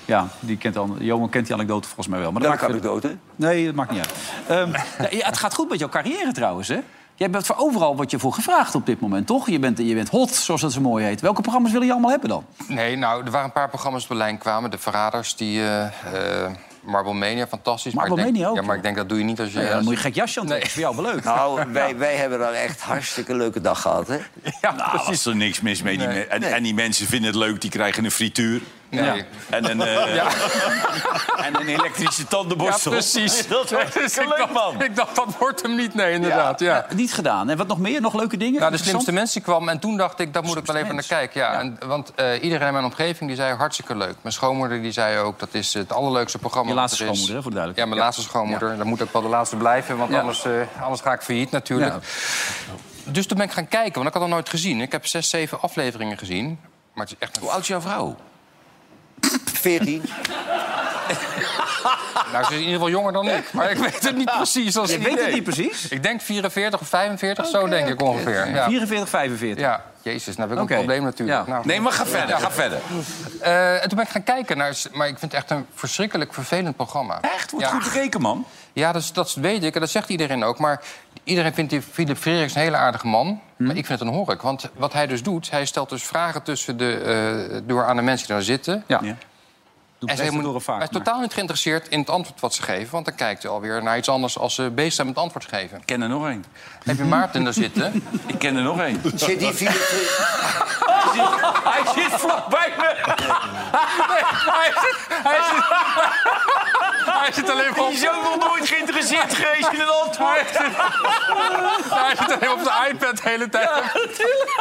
Speaker 1: ja, die kent al, Johan kent die anekdote volgens mij wel. Maar dat
Speaker 2: Welke
Speaker 1: maakt-
Speaker 2: anekdote?
Speaker 1: Nee, dat maakt niet uit. Ehm, nou, ja, het gaat goed met jouw carrière trouwens, hè? Jij bent voor overal wat je voor gevraagd op dit moment, toch? Je bent, je bent hot, zoals dat zo mooi heet. Welke programma's wil je allemaal hebben dan?
Speaker 4: Nee, nou, er waren een paar programma's die op de lijn kwamen. De Verraders, die... eh eh Marble Mania, fantastisch. maar ik denk-
Speaker 1: Marble Mania ook,
Speaker 4: Ja, maar ik denk dat doe je niet als je...
Speaker 1: Ja, dan
Speaker 4: als-
Speaker 1: moet je een gek jasje aan trekken. is voor jou wel leuk.
Speaker 2: Nou, wij, wij hebben daar echt hartstikke leuke dag gehad, hè?
Speaker 3: Ah, nou, was er niks mis mee. Die me- en, en die mensen vinden het leuk, die krijgen een frituur.
Speaker 4: Nee.
Speaker 3: En een, eh, en een elektrische
Speaker 4: Ja,
Speaker 3: tandenborstel.
Speaker 4: precies.
Speaker 3: Dat was
Speaker 4: Dus
Speaker 3: echt
Speaker 4: ik
Speaker 3: leuk,
Speaker 4: dacht-
Speaker 3: man.
Speaker 4: Ik dacht, dat wordt hem niet. Nee, inderdaad. Ja.
Speaker 1: Niet gedaan. En wat nog meer? Nog leuke dingen?
Speaker 4: Nou, de
Speaker 1: Interessant?
Speaker 4: slimste mensen kwam en toen dacht ik, dat moet ik wel even naar
Speaker 1: Slimste
Speaker 4: kijken. Ja, En, want eh, iedereen in mijn omgeving die zei hartstikke leuk. Mijn schoonmoeder die zei ook, dat is het allerleukste programma.
Speaker 1: Je
Speaker 4: wat
Speaker 1: laatste
Speaker 4: er is.
Speaker 1: schoonmoeder, hè, voor de
Speaker 4: Ja,
Speaker 1: duidelijkheid.
Speaker 4: mijn laatste schoonmoeder. Dat moet ook wel de laatste blijven, want
Speaker 1: Ja.
Speaker 4: anders, eh, anders ga ik failliet natuurlijk. Dus toen ben ik gaan kijken, want ik had dat nooit gezien. Ik heb zes, zeven afleveringen gezien. Maar het is echt...
Speaker 3: Hoe oud is jouw vrouw?
Speaker 2: 14.
Speaker 4: Nou, ze is in ieder geval jonger dan ik. Maar ik weet het niet precies. Dat is
Speaker 1: Je
Speaker 4: een
Speaker 1: weet het
Speaker 4: idee.
Speaker 1: niet precies.
Speaker 4: Ik denk 44 of 45, zo denk ik ongeveer. Ja.
Speaker 1: 44, 45.
Speaker 4: ja, jezus, nou heb ik
Speaker 1: Oké.
Speaker 4: een probleem natuurlijk.
Speaker 1: Ja.
Speaker 4: Nou,
Speaker 3: Nee, maar ga verder, ga verder.
Speaker 4: Eh, en toen ben ik gaan kijken naar... Maar ik vind het echt een verschrikkelijk vervelend programma.
Speaker 3: Echt? Wordt
Speaker 4: Ja.
Speaker 3: goed gekeken, man.
Speaker 4: Ja, dat, is- dat weet ik en dat zegt iedereen ook. Maar iedereen vindt die Philip Frerichs een hele aardige man. Maar ik vind het een hork. Want wat hij dus doet, hij stelt dus vragen tussen de, eh, door aan de mensen die daar zitten.
Speaker 1: Ja.
Speaker 4: Hij is, helemaal,
Speaker 1: door vaak.
Speaker 4: hij is totaal niet geïnteresseerd in het antwoord wat ze geven. Want dan kijkt hij alweer naar iets anders als ze bezig zijn met het antwoord geven.
Speaker 3: Ik ken er nog één.
Speaker 4: Heb je Maarten daar zitten?
Speaker 3: Ik ken er nog één.
Speaker 2: Zit die Philip-
Speaker 3: Hij zit vlakbij me.
Speaker 4: hij, zit, hij, zit, hij zit alleen maar op,
Speaker 3: Die is ook nog nooit geïnteresseerd geweest in een antwoord.
Speaker 4: hij zit alleen maar op de iPad de hele tijd.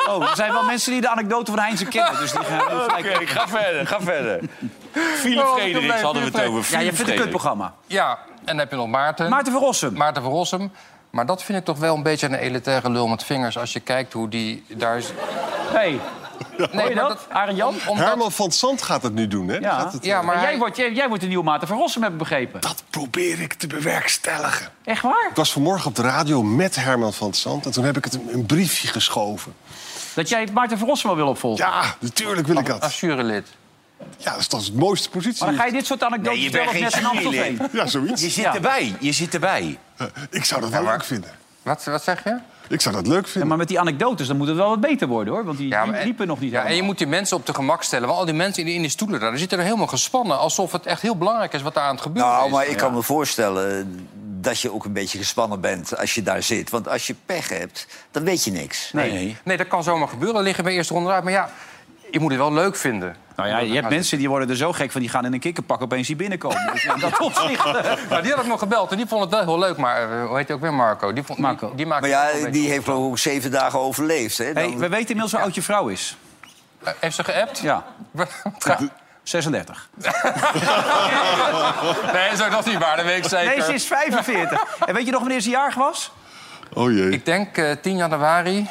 Speaker 1: Oh, er zijn wel mensen die de anekdote van Heinze kennen. Dus die gaan even
Speaker 3: Oké,
Speaker 1: kijken.
Speaker 3: ga verder, ga verder. Philip
Speaker 4: Oh, wat een
Speaker 3: Frederiks
Speaker 4: probleem,
Speaker 3: hadden we het
Speaker 4: Philip
Speaker 3: over.
Speaker 1: Ja, je
Speaker 3: Philip
Speaker 1: vindt een
Speaker 3: Frederiks.
Speaker 1: kutprogramma.
Speaker 4: Ja, en dan heb je nog Maarten.
Speaker 1: Maarten van Rossum.
Speaker 4: Maarten van Rossum. Maar dat vind ik toch wel een beetje een elitaire lul met vingers... als je kijkt hoe die daar is...
Speaker 1: Hey, hoor je
Speaker 4: maar
Speaker 1: dat? Arend Jan?
Speaker 4: omdat-
Speaker 5: Herman van Sant gaat het nu doen, hè? Die
Speaker 1: Ja.
Speaker 5: gaat het,
Speaker 4: Ja,
Speaker 5: eh,
Speaker 4: maar
Speaker 1: Maar
Speaker 4: hij-
Speaker 1: jij wordt, jij, jij wordt de nieuwe Maarten van Rossum, heb ik begrepen.
Speaker 5: Dat probeer ik te bewerkstelligen.
Speaker 1: Echt waar?
Speaker 5: Ik was vanmorgen op de radio met Herman van Sant... en toen heb ik het een, een briefje geschoven.
Speaker 1: Dat jij Maarten van Rossum wel wil opvolgen.
Speaker 5: Ja, natuurlijk wil ik dat.
Speaker 4: als jurylid.
Speaker 5: Ja, dat is, dat is de mooiste positie.
Speaker 1: Maar dan ga je dit soort anekdotes
Speaker 3: Nee, je
Speaker 1: vertellen als
Speaker 3: bent
Speaker 1: net in
Speaker 3: geen jurylid.
Speaker 1: Amstelveen.
Speaker 5: Ja, zoiets. Eh,
Speaker 3: Je zit
Speaker 1: Ja.
Speaker 3: erbij, je zit erbij.
Speaker 5: Ik zou dat wel
Speaker 4: maar-
Speaker 5: leuk vinden.
Speaker 4: Wat, wat zeg je?
Speaker 5: Ik zou dat leuk
Speaker 1: Ja,
Speaker 5: vinden.
Speaker 1: maar met die anekdotes, dan moet het wel wat beter worden, hoor. Want die
Speaker 4: Ja,
Speaker 1: die
Speaker 4: maar-
Speaker 1: liepen nog niet
Speaker 4: Ja, en je
Speaker 1: helemaal.
Speaker 4: moet die mensen op de gemak stellen. Want al die mensen in die, in die stoelen daar, die zitten er helemaal gespannen. Alsof het echt heel belangrijk is wat daar aan het gebeuren
Speaker 2: Nou,
Speaker 4: is.
Speaker 2: maar ik kan me voorstellen dat je ook een beetje gespannen bent als je daar zit. Want als je pech hebt, dan weet je niks.
Speaker 3: Nee.
Speaker 4: Nee, dat kan zomaar gebeuren. Dan liggen we eerst onderuit. Maar ja, je moet het wel leuk vinden.
Speaker 1: Nou ja, je hebt mensen die worden er zo gek van, die gaan in een kikkerpak opeens hier binnenkomen. Dus in dat opzicht... eh,
Speaker 4: Maar die had ik nog gebeld en die vond het wel heel leuk. Maar eh, hoe heet hij ook weer? Marco. Die vond,
Speaker 1: Marco.
Speaker 4: Die, die maakte
Speaker 2: Maar
Speaker 4: het wel
Speaker 2: ja,
Speaker 4: een
Speaker 2: die heeft geloof ik ook zeven dagen overleefd. Hè?
Speaker 1: Hey,
Speaker 2: Dan-
Speaker 1: we weten inmiddels hoe oud je vrouw is.
Speaker 4: beetje- Eh, Heeft ze geappt?
Speaker 1: Ja,
Speaker 4: Ja.
Speaker 1: 36.
Speaker 4: Nee, zo, dat is niet waar. Dat weet ik zeker.
Speaker 1: Nee, ze is 45. En weet je nog wanneer ze jarig was?
Speaker 5: Oh jee.
Speaker 4: Ik denk eh, 10 januari.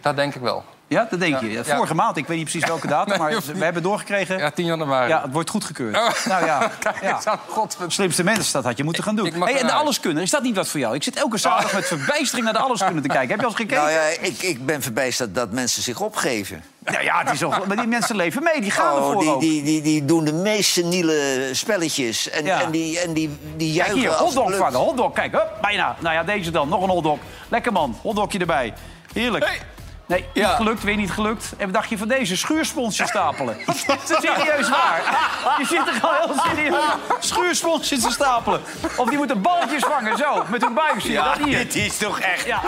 Speaker 4: Dat denk ik wel.
Speaker 1: Ja, dat denk je.
Speaker 4: ja.
Speaker 1: Vorige maand, ik weet niet precies welke datum,
Speaker 4: Nee,
Speaker 1: maar
Speaker 4: hoeft niet.
Speaker 1: we hebben doorgekregen.
Speaker 4: Ja,
Speaker 1: Ja,
Speaker 4: 10 januari.
Speaker 1: het wordt goedgekeurd.
Speaker 4: Oh.
Speaker 1: Nou ja,
Speaker 4: Kijk
Speaker 1: ja.
Speaker 4: eens aan. Godverdomme.
Speaker 1: Slimste mens, dat had je moeten gaan doen.
Speaker 4: Ik mag
Speaker 1: Hey, en de
Speaker 4: eruit.
Speaker 1: alleskunner, is dat niet wat voor jou? Ik zit elke zaterdag met verbijstering naar de alleskunner te kijken. Heb je al eens gekeken?
Speaker 2: Nou ja, ik, ik ben verbijsterd dat mensen zich opgeven.
Speaker 1: Nou ja, het is al, maar die mensen leven mee, die gaan
Speaker 2: Oh,
Speaker 1: ervoor
Speaker 2: die,
Speaker 1: ook.
Speaker 2: die, die, die doen de meest seniele spelletjes. En,
Speaker 1: Ja.
Speaker 2: en die, en die, die
Speaker 1: Kijk
Speaker 2: juichen
Speaker 1: hier,
Speaker 2: als het
Speaker 1: hotdog
Speaker 2: lukt.
Speaker 1: vangen, hotdog. Kijk, hup, bijna. Nou ja, deze dan, nog een hotdog. Lekker man, hotdogje erbij. Heerlijk. Nee, niet
Speaker 3: Ja.
Speaker 1: gelukt, weer niet gelukt. En we dacht je van deze schuursponsje stapelen? serieus waar. Je zit er gewoon heel serieus schuursponsjes te stapelen. Of die moeten balletjes vangen, zo, met hun buik. Zie je
Speaker 3: Ja,
Speaker 1: dat hier?
Speaker 3: dit is toch echt...
Speaker 1: Ja.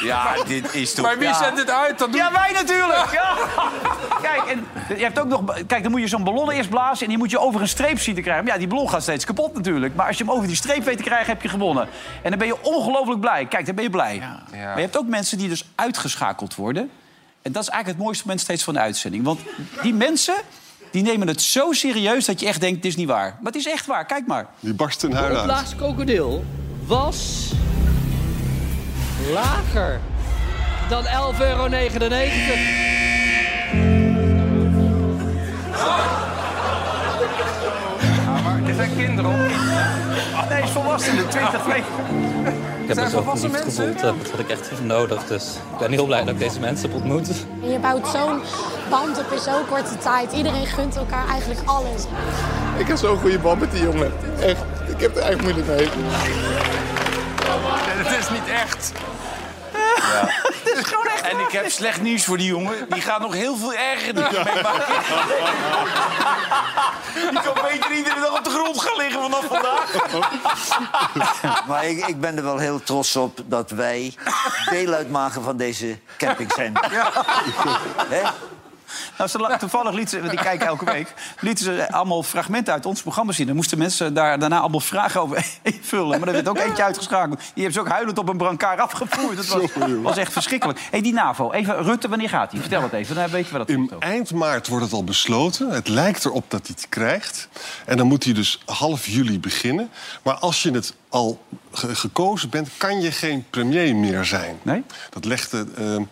Speaker 3: Ja, dit is toch...
Speaker 4: Maar wie
Speaker 1: Ja.
Speaker 4: zendt dit uit? Dat doe
Speaker 1: ja, wij natuurlijk. Ja. Kijk, en je hebt ook nog, kijk, dan moet je zo'n ballon eerst blazen... en die moet je over een streep zien te krijgen. Maar ja, die ballon gaat steeds kapot natuurlijk. Maar als je hem over die streep weet te krijgen, heb je gewonnen. En dan ben je ongelooflijk blij. Kijk, dan ben je blij. Maar je hebt ook mensen die dus uitgeschakeld worden. En dat is eigenlijk het mooiste moment steeds van de uitzending. Want die mensen... Die nemen het zo serieus dat je echt denkt, dit is niet waar. Maar het is echt waar, kijk maar.
Speaker 5: Die barst in huil uit.
Speaker 7: Laagste krokodil was lager dan 11,99 euro.
Speaker 4: Er zijn kinderen op.
Speaker 1: Nee, is volwassenen, 20 meter.
Speaker 7: Ik heb
Speaker 4: Zijn
Speaker 7: het ook
Speaker 4: volwassen
Speaker 7: niet
Speaker 4: mensen?
Speaker 7: gevoeld, heb. dat had ik echt nodig. Dus ik ben heel blij dat ik deze mensen heb ontmoet.
Speaker 8: En je bouwt zo'n band op in zo'n korte tijd. Iedereen gunt elkaar eigenlijk alles.
Speaker 9: Ik heb zo'n goede band met die jongen. Echt, ik heb er echt moeilijk mee.
Speaker 4: Het is niet echt.
Speaker 3: En ik heb slecht nieuws voor die jongen. Die gaat nog heel veel erger dingen meemaken. Die kan beter iedere dag op de grond gaan liggen vanaf vandaag.
Speaker 2: Maar ik, ik ben er wel heel trots op dat wij deel uitmaken van deze camping zijn.
Speaker 1: Nou, ze la- toevallig liet ze, want ik kijk elke week, lieten ze allemaal fragmenten uit ons programma zien. Dan moesten mensen daar daarna allemaal vragen over invullen. Maar er werd ook eentje uitgeschakeld. Die hebben ze ook huilend op een brancard afgevoerd. Dat was, was echt verschrikkelijk. hey, die NAVO. Even, Rutte, wanneer gaat die? Vertel het even, dan weet je wat dat
Speaker 5: In
Speaker 1: is. ook.
Speaker 5: eind maart wordt het al besloten. Het lijkt erop dat hij het krijgt. En dan moet hij dus half juli beginnen. Maar als je het al ge- gekozen bent, kan je geen premier meer zijn.
Speaker 1: Nee?
Speaker 5: Dat legde... ehm,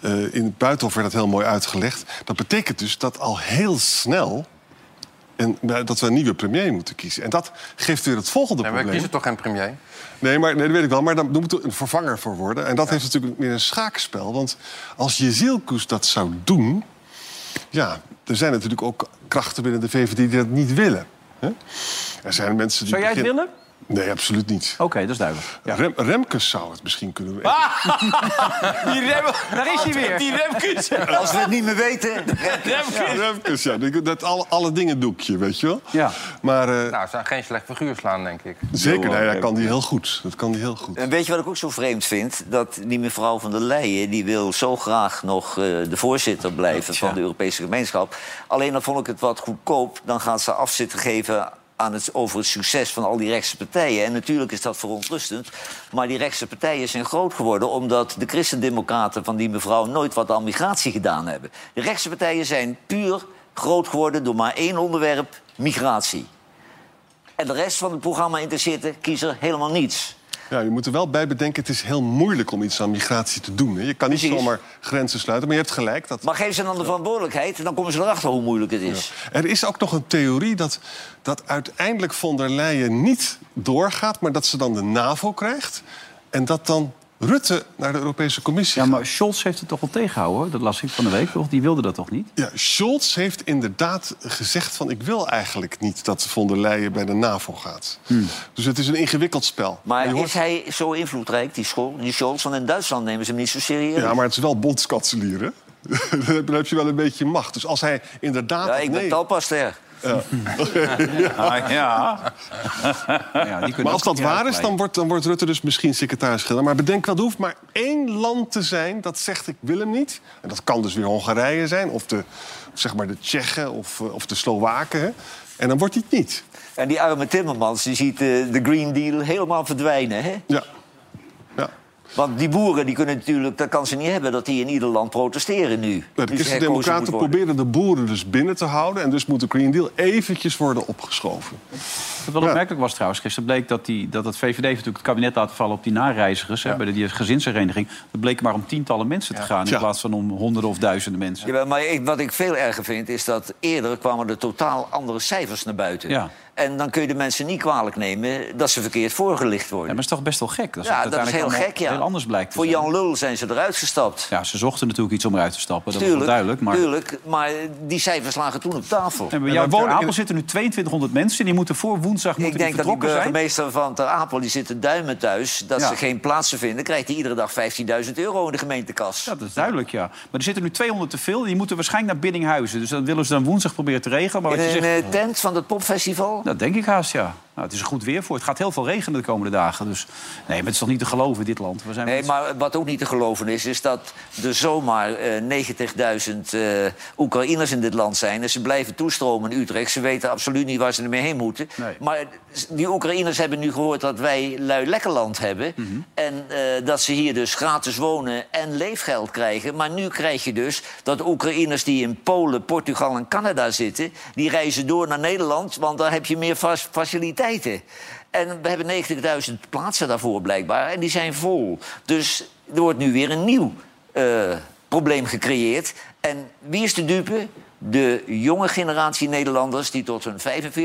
Speaker 5: eh, in het buitenhof werd dat heel mooi uitgelegd. Dat betekent dus dat al heel snel... En eh, dat we een nieuwe premier moeten kiezen. En dat geeft weer het volgende
Speaker 4: Nee, maar we kiezen
Speaker 5: probleem.
Speaker 4: toch geen premier?
Speaker 5: Nee, maar, nee, dat weet ik wel. Maar dan, dan moet er een vervanger voor worden. En dat heeft natuurlijk meer een schaakspel. Want als Jezielkoes dat zou doen... Ja, er zijn natuurlijk ook krachten binnen de VVD die dat niet willen. hè? Er zijn mensen die...
Speaker 1: Zou jij het
Speaker 5: beginnen-
Speaker 1: willen?
Speaker 5: Nee, absoluut niet.
Speaker 1: Oké, dat is duidelijk.
Speaker 5: Rem, Remkes zou het misschien kunnen doen.
Speaker 1: Ah! Die rem, daar is hij weer. Die remkens.
Speaker 2: Als we het niet meer weten,
Speaker 5: Ja, Remkes, ja. die- Dat alle, alle dingen doekje, weet je wel?
Speaker 1: Ja.
Speaker 5: Maar eh,
Speaker 4: Nou, ze zijn geen slecht figuur slaan, denk ik.
Speaker 5: zeker, nee,
Speaker 1: eh,
Speaker 5: dat kan die heel goed. Dat kan die heel goed.
Speaker 2: En weet je wat ik ook zo vreemd vind? Dat die mevrouw van der Leyen... die wil zo graag nog eh, de voorzitter blijven van de Europese gemeenschap. Alleen dan vond ik het wat goedkoop. Dan gaat ze afzitten geven aan het, over het succes van al die rechtse partijen. En natuurlijk is dat verontrustend. Maar die rechtse partijen zijn groot geworden... omdat de christendemocraten van die mevrouw nooit wat aan migratie gedaan hebben. De rechtse partijen zijn puur groot geworden door maar één onderwerp, migratie. En de rest van het programma interesseert de kiezer helemaal niets.
Speaker 5: Ja, je moet er wel bij bedenken, het is heel moeilijk om iets aan migratie te doen. Hè. Je kan niet
Speaker 2: Precies.
Speaker 5: zomaar grenzen sluiten, maar je hebt gelijk. Dat...
Speaker 2: Maar geef ze dan de verantwoordelijkheid en dan komen ze erachter hoe moeilijk het is.
Speaker 5: Er is ook nog een theorie dat, dat uiteindelijk von der Leyen niet doorgaat... maar dat ze dan de NAVO krijgt en dat dan Rutte naar de Europese Commissie
Speaker 1: Ja,
Speaker 5: gaat.
Speaker 1: maar Scholz heeft het toch wel tegengehouden, hoor. Dat las ik van de week, toch? Die wilde dat toch niet?
Speaker 5: Ja, Scholz heeft inderdaad gezegd van... ik wil eigenlijk niet dat von der Leyen bij de NAVO gaat. Dus het is een ingewikkeld spel.
Speaker 2: Hmm. Maar
Speaker 5: Je hoort-
Speaker 2: is hij zo invloedrijk, die, school, die Scholz? Want in Duitsland nemen ze hem niet zo serieus.
Speaker 5: Ja, maar het is wel bondskanselier, hè? Dan heb je wel een beetje macht. Dus als hij inderdaad...
Speaker 2: Ja, ik ben
Speaker 5: nee-
Speaker 2: talpaster.
Speaker 1: Ah, ja. ja die kunnen
Speaker 5: Maar
Speaker 1: ook
Speaker 5: als dat
Speaker 1: niet
Speaker 5: waar is,
Speaker 1: uitblijven.
Speaker 5: dan wordt, dan wordt Rutte dus misschien secretaris-generaal. Maar bedenk wel, er hoeft maar één land te zijn dat zegt ik wil hem niet. En dat kan dus weer Hongarije zijn, of de, zeg maar de Tsjechen of, eh, of de Slowaken. hè. En dan wordt hij het niet.
Speaker 2: En die arme Timmermans die ziet eh, de Green Deal helemaal verdwijnen. Hè?
Speaker 5: Ja. ja.
Speaker 2: Want die boeren die kunnen natuurlijk, dat kan ze niet hebben, dat die in ieder land protesteren nu.
Speaker 5: De
Speaker 2: Nu ze herkozen
Speaker 5: christendemocraten
Speaker 2: moet worden.
Speaker 5: proberen de boeren dus binnen te houden. En dus moet de Green Deal eventjes worden opgeschoven.
Speaker 1: Wat wel opmerkelijk was trouwens, gisteren bleek dat, die, dat het VVD heeft natuurlijk het kabinet laten vallen op die nareizigers, hè, bij de- die gezinshereniging. Dat bleek maar om tientallen mensen te gaan
Speaker 5: Tja.
Speaker 1: in plaats van om honderden of duizenden mensen.
Speaker 2: Ja, maar ik, wat ik veel erger vind, is dat eerder kwamen er totaal andere cijfers naar buiten.
Speaker 1: Ja.
Speaker 2: En dan kun je de mensen niet kwalijk nemen dat ze verkeerd voorgelicht worden.
Speaker 1: Ja, maar het is toch best wel gek. Dat
Speaker 2: Ja, dat is heel
Speaker 1: Dus allemaal
Speaker 2: gek, ja.
Speaker 1: Heel anders blijkt te
Speaker 2: Voor
Speaker 1: zijn.
Speaker 2: Jan Lul zijn ze eruit gestapt.
Speaker 1: Ja, ze zochten natuurlijk iets om eruit te stappen, dat
Speaker 2: tuurlijk,
Speaker 1: was wel duidelijk. Maar,
Speaker 2: tuurlijk, maar die cijfers lagen toen op tafel.
Speaker 1: en bij
Speaker 5: En
Speaker 1: jou
Speaker 5: wij wonen
Speaker 1: ter Apel
Speaker 5: in-
Speaker 1: zitten nu 2200 mensen, die moeten voor woensdag
Speaker 2: Ik
Speaker 1: moeten die
Speaker 2: denk dat die
Speaker 1: vertrokken zijn.
Speaker 2: burgemeester van Ter Apel, die zit te duimen thuis... dat
Speaker 1: Ja.
Speaker 2: ze geen plaatsen vinden, krijgt hij iedere dag 15.000 euro in de gemeentekas.
Speaker 1: Ja, dat is duidelijk, ja. Maar er zitten nu 200 te veel, die moeten waarschijnlijk naar Biddinghuizen. Dus dat willen ze dan woensdag proberen te regelen. Maar wat
Speaker 2: in
Speaker 1: je
Speaker 2: een
Speaker 1: zegt,
Speaker 2: eh, tent van het popfestival.
Speaker 1: Dat denk ik haast, ja. Nou, het is een goed weer voor. Het gaat heel veel regenen de komende dagen. Dus nee, maar het is toch niet te geloven, dit land. We zijn
Speaker 2: Nee,
Speaker 1: met-
Speaker 2: maar wat ook niet te geloven is, is dat er zomaar eh, 90.000 eh, Oekraïners in dit land zijn. En ze blijven toestromen in Utrecht. Ze weten absoluut niet waar ze ermee heen moeten.
Speaker 1: Nee.
Speaker 2: Maar die Oekraïners hebben nu gehoord dat wij lui lekker land hebben.
Speaker 1: Mhm.
Speaker 2: En eh, dat ze hier dus gratis wonen en leefgeld krijgen. Maar nu krijg je dus dat Oekraïners die in Polen, Portugal en Canada zitten... die reizen door naar Nederland, want daar heb je meer fac- faciliteiten. En we hebben 90.000 plaatsen daarvoor blijkbaar. En die zijn vol. Dus er wordt nu weer een nieuw eh, probleem gecreëerd. En wie is de dupe? De jonge generatie Nederlanders die tot hun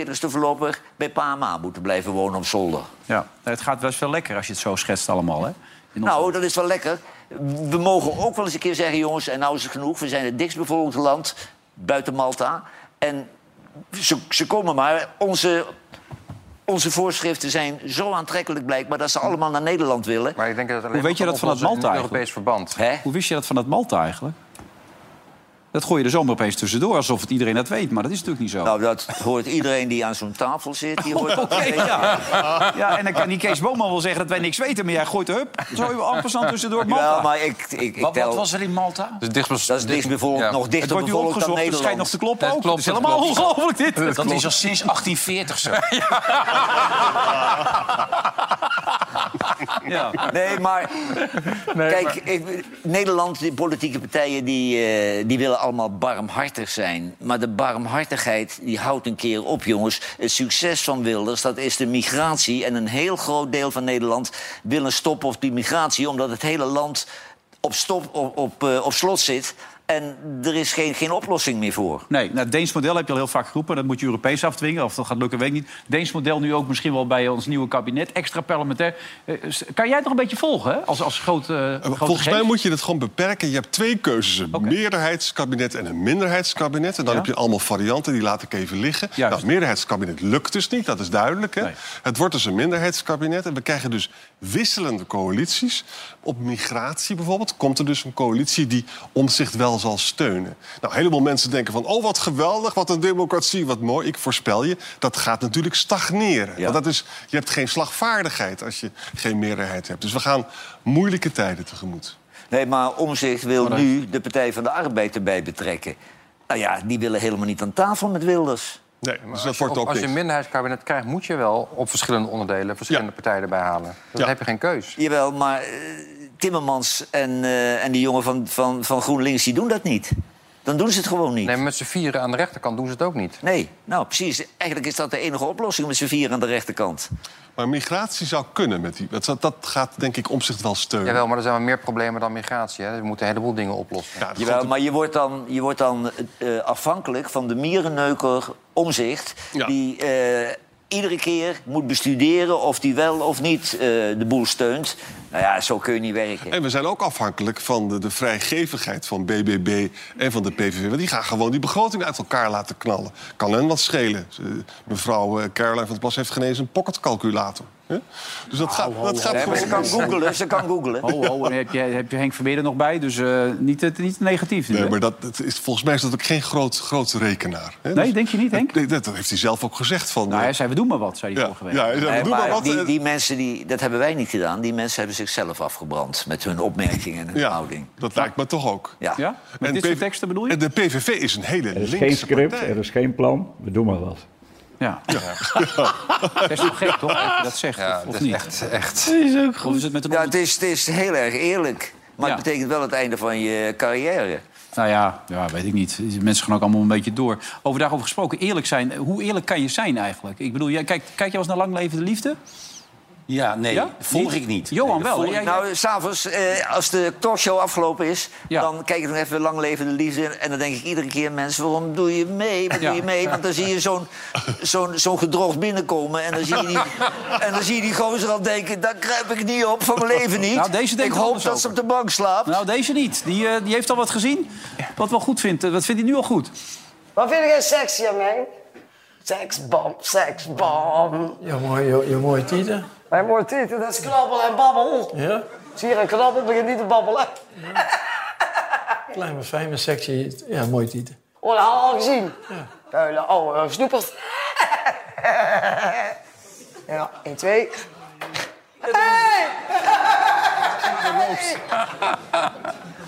Speaker 2: 45ste voorlopig bij pa en ma moeten blijven wonen op zolder.
Speaker 1: ja. Het gaat best wel lekker als je het zo schetst allemaal, hè? In ons-
Speaker 2: Nou, dat is wel lekker. We mogen ook wel eens een keer zeggen, jongens, en nou is het genoeg. We zijn het dichtstbevolkte land, buiten Malta. En ze, ze komen maar. Onze, onze voorschriften zijn zo aantrekkelijk blijkbaar... dat ze allemaal naar Nederland willen.
Speaker 4: Maar ik denk dat alleen
Speaker 1: Hoe weet je
Speaker 4: maar
Speaker 1: dat
Speaker 4: kan
Speaker 1: vanuit
Speaker 4: oplossen in
Speaker 1: Malta
Speaker 4: een Europees verband.
Speaker 2: Hè?
Speaker 1: Hoe wist je dat vanuit Malta eigenlijk? Dat gooi je er zomaar opeens tussendoor, alsof het iedereen dat weet. Maar dat is natuurlijk niet zo.
Speaker 2: Nou, dat hoort iedereen die aan zo'n tafel zit. Die hoort
Speaker 1: Oké, ja. ja. En dan kan die Kees Boman wel zeggen dat wij niks weten. Maar jij gooit er hup, zo even en passant tussendoor.
Speaker 2: Ja,
Speaker 1: Malta.
Speaker 2: maar ik, ik, ik
Speaker 3: Wat,
Speaker 2: tel...
Speaker 3: wat was er in Malta?
Speaker 4: Dus dicht,
Speaker 2: Dat is dicht bevolkt,
Speaker 4: ja.
Speaker 2: nog
Speaker 1: Het
Speaker 2: dichter
Speaker 1: wordt nu
Speaker 2: bevolkt dan
Speaker 1: opgezocht, het schijnt nog
Speaker 2: Nederland.
Speaker 1: te kloppen
Speaker 4: Dat
Speaker 1: ook.
Speaker 4: klopt,
Speaker 1: het is
Speaker 4: dat
Speaker 1: helemaal
Speaker 4: klopt.
Speaker 1: ongelooflijk dit.
Speaker 3: Dat, is al sinds 1840 zo.
Speaker 1: Ja.
Speaker 2: Nee, maar... Kijk, ik- Nederland, de politieke partijen, die, eh, die willen allemaal barmhartig zijn. Maar de barmhartigheid, die houdt een keer op, jongens. Het succes van Wilders, dat is de migratie. En een heel groot deel van Nederland wil een stop op die migratie... omdat het hele land op, stop, op, op, eh, op slot zit... En er is geen, geen oplossing meer voor.
Speaker 1: Nee, nou, het Deens model heb je al heel vaak geroepen. Dat moet je Europees afdwingen. Of dat gaat lukken, weet ik niet. Deens model nu ook misschien wel bij ons nieuwe kabinet. Extra parlementair. Eh, s- kan jij het nog een beetje volgen, hè? Als, als groot, eh, grote
Speaker 5: Volgens mij
Speaker 1: geest?
Speaker 5: moet je dat gewoon beperken. Je hebt twee keuzes: een meerderheidskabinet en een minderheidskabinet. En dan
Speaker 1: Ja.
Speaker 5: heb je allemaal varianten, die laat ik even liggen.
Speaker 1: Juist.
Speaker 5: Nou, het meerderheidskabinet lukt dus niet, dat is duidelijk. Hè?
Speaker 1: Nee.
Speaker 5: Het wordt dus een minderheidskabinet. En we krijgen dus wisselende coalities. Op migratie bijvoorbeeld komt er dus een coalitie die omzicht wel zal steunen. Nou, een heleboel mensen denken van, oh wat geweldig, wat een democratie, wat mooi. Ik voorspel je, dat gaat natuurlijk stagneren. Want dat is, je hebt geen slagvaardigheid als je geen meerderheid hebt. Dus we gaan moeilijke tijden tegemoet.
Speaker 2: Nee, maar Omzicht wil nu de Partij van de Arbeid erbij betrekken. Nou ja, die willen helemaal niet aan tafel met Wilders.
Speaker 5: Nee, dus dat
Speaker 4: Als je,
Speaker 5: wordt
Speaker 4: op-
Speaker 5: ook
Speaker 4: als je een
Speaker 5: niks.
Speaker 4: minderheidskabinet krijgt, moet je wel op verschillende onderdelen verschillende
Speaker 5: Ja.
Speaker 4: partijen erbij halen. Dan
Speaker 5: Ja.
Speaker 4: heb je geen keus.
Speaker 2: Jawel, maar eh, Timmermans en, eh, en die jongen van, van, van GroenLinks die doen dat niet. Dan doen ze het gewoon niet.
Speaker 4: Nee,
Speaker 2: Nee,
Speaker 4: maar met z'n vieren aan de rechterkant doen ze het ook niet.
Speaker 2: nou precies. Eigenlijk is dat de enige oplossing met z'n vier aan de rechterkant.
Speaker 5: Maar migratie zou kunnen met die. Dat, dat gaat denk ik omzicht wel steunen.
Speaker 4: Jawel, maar er zijn wel meer problemen dan migratie. Hè. We moeten een heleboel dingen oplossen.
Speaker 5: Ja, dat
Speaker 2: Jawel,
Speaker 5: goed,
Speaker 2: maar je wordt dan, je wordt dan eh, afhankelijk van de mierenneuker omzicht...
Speaker 5: Ja.
Speaker 2: die eh, iedere keer moet bestuderen of die wel of niet eh, de boel steunt. Nou ja, zo kun je niet werken.
Speaker 5: En we zijn ook afhankelijk van de, de vrijgevigheid van BBB en van de PVV. Want die gaan gewoon die begroting uit elkaar laten knallen. Kan hen wat schelen. Eh, Mevrouw eh, Caroline van der Plas heeft geen eens een pocketcalculator. hè? Dus dat gaat, dat gaat
Speaker 2: Nee, maar ze
Speaker 5: gewoon-
Speaker 2: kan googelen, ze kan googelen.
Speaker 1: Ho, ho, Oh, en heb je, heb je Henk Vermeer er nog bij. Dus eh, niet, het- niet negatief nu,
Speaker 5: Nee,
Speaker 1: hè?
Speaker 5: maar dat, dat is, volgens mij is dat ook geen groot, groot rekenaar. hè?
Speaker 1: Nee,
Speaker 5: Dus-
Speaker 1: denk je niet, Henk?
Speaker 5: Nee, dat, dat heeft hij zelf ook gezegd. Van,
Speaker 1: Nou,
Speaker 5: eh,
Speaker 1: hij zei, we doen maar wat, zei hij
Speaker 5: ja,
Speaker 1: vorige week.
Speaker 5: ja, hij zei,
Speaker 2: Nee,
Speaker 5: doe
Speaker 2: maar
Speaker 5: maar wat.
Speaker 2: die,
Speaker 5: eh,
Speaker 2: die mensen, die, dat hebben wij niet gedaan. Die mensen hebben zichzelf afgebrand met hun opmerkingen en hun
Speaker 5: ja,
Speaker 2: houding.
Speaker 5: dat lijkt me toch ook.
Speaker 2: Ja.
Speaker 1: Ja? Met dit soort
Speaker 5: PV
Speaker 1: teksten bedoel
Speaker 5: En
Speaker 1: je?
Speaker 5: de PVV is een hele linkse partij.
Speaker 10: is geen plan. We doen maar wat.
Speaker 1: Ja. Dat is toch gek, toch? Dat je dat zegt,
Speaker 4: Ja,
Speaker 1: of,
Speaker 4: dat
Speaker 1: of
Speaker 4: is
Speaker 1: niet?
Speaker 4: echt, echt.
Speaker 1: Of is het met een
Speaker 2: Ja,
Speaker 1: onder-
Speaker 2: het, is, het is heel erg eerlijk. Maar
Speaker 1: Ja.
Speaker 2: het betekent wel het einde van je carrière.
Speaker 1: Nou ja, ja, weet ik niet. Mensen gaan ook allemaal een beetje door. Over daarover gesproken, eerlijk zijn. Hoe eerlijk kan je zijn eigenlijk? Ik bedoel, jij, kijk, kijk jij was naar Lang Leven de Liefde?
Speaker 3: Ja, nee,
Speaker 1: Ja?
Speaker 3: volg ik niet.
Speaker 1: Johan
Speaker 3: Nee,
Speaker 1: wel.
Speaker 3: volg ik-
Speaker 1: hè? Jij-
Speaker 2: Nou, s'avonds, eh, als de talkshow afgelopen is...
Speaker 1: Ja.
Speaker 2: dan kijk ik nog even Lang Leven de Liefde. En dan denk ik iedere keer, mensen, waarom doe je mee? Wat
Speaker 1: Ja.
Speaker 2: doe je mee? Want dan zie je zo'n zo'n zo'n gedrocht binnenkomen. En dan, zie je die, en dan zie je die gozer al denken... daar kruip ik niet op, van mijn leven niet.
Speaker 1: Nou, deze
Speaker 2: ik
Speaker 1: denkt
Speaker 2: hoop
Speaker 1: anders
Speaker 2: dat ze op de bank slaapt.
Speaker 1: Nou, deze niet. Die, eh, die heeft al wat gezien. Wat wel goed vindt. Eh, Wat vindt hij nu al goed?
Speaker 10: Wat vind jij sexy aan mij? Seksbom, seksbom. Je mooie, je, je mooie tieten. Mijn mooie tieten, dat is knabbel en babbel. Ja? Zie je een knabbel, begint niet te babbelen. Klein maar fijn, maar sexy. Ja, mooie tieten. Oh, dat hadden we al gezien. Ja. Puilen, oh, eh, snoepert. ja, 1, 2.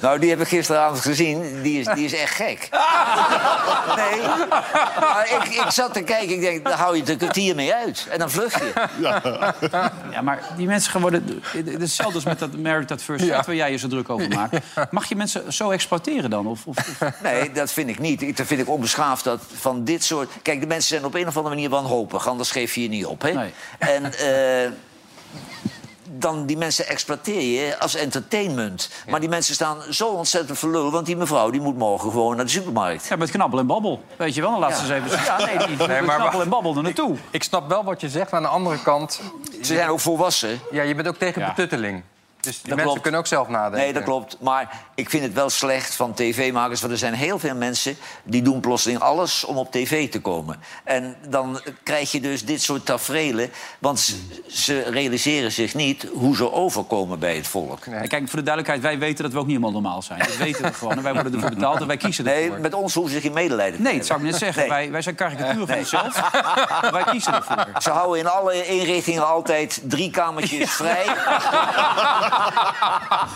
Speaker 2: Nou, die heb ik gisteravond gezien. Die is, die is echt gek. Nee. Maar ik, ik zat te kijken. Ik denk, daar hou je het een kwartier mee uit. En dan vlug je.
Speaker 1: Ja, maar die mensen gaan worden... eh, Het is hetzelfde als met dat Married at First Sight... waar jij je zo druk over maakt. Mag je mensen zo exploiteren dan? Of, of, of-
Speaker 2: Nee, dat vind ik niet. Ik- Dat vind ik onbeschaafd dat van dit soort... Kijk, de mensen zijn op een of andere manier wanhopig. Anders geef je je niet op, hè?
Speaker 1: Nee.
Speaker 2: En eh, dan die mensen exploiteer je als entertainment. Maar die mensen staan zo ontzettend verlul... want die mevrouw die moet morgen gewoon naar de supermarkt.
Speaker 1: Ja, met knabbel en babbel. Weet je wel, de laatste eens even... Ja, nee, die,
Speaker 4: maar-
Speaker 1: knabbel en babbel er naartoe.
Speaker 4: Ik snap wel wat je zegt, maar aan de andere kant...
Speaker 2: Ze zijn ook volwassen.
Speaker 4: Ja, je bent ook tegen
Speaker 1: Ja.
Speaker 4: betutteling. Dus die mensen kunnen ook zelf nadenken.
Speaker 2: Nee, dat klopt. Maar ik vind het wel slecht van tv-makers. Want er zijn heel veel mensen die doen plotseling alles om op tv te komen. En dan krijg je dus dit soort tafereelen. Want ze- ze realiseren zich niet hoe ze overkomen bij het volk.
Speaker 1: En kijk, voor de duidelijkheid, wij weten dat we ook niet helemaal normaal zijn. Dat weten we gewoon. En wij worden ervoor betaald en wij kiezen ervoor.
Speaker 2: Nee, met ons hoeven ze geen medelijden te
Speaker 1: Nee, dat zou ik net
Speaker 2: hebben.
Speaker 1: zeggen.
Speaker 2: Nee.
Speaker 1: Wij, wij zijn karikatuur van onszelf. Maar wij kiezen ervoor.
Speaker 2: Ze houden in alle inrichtingen altijd drie kamertjes vrij.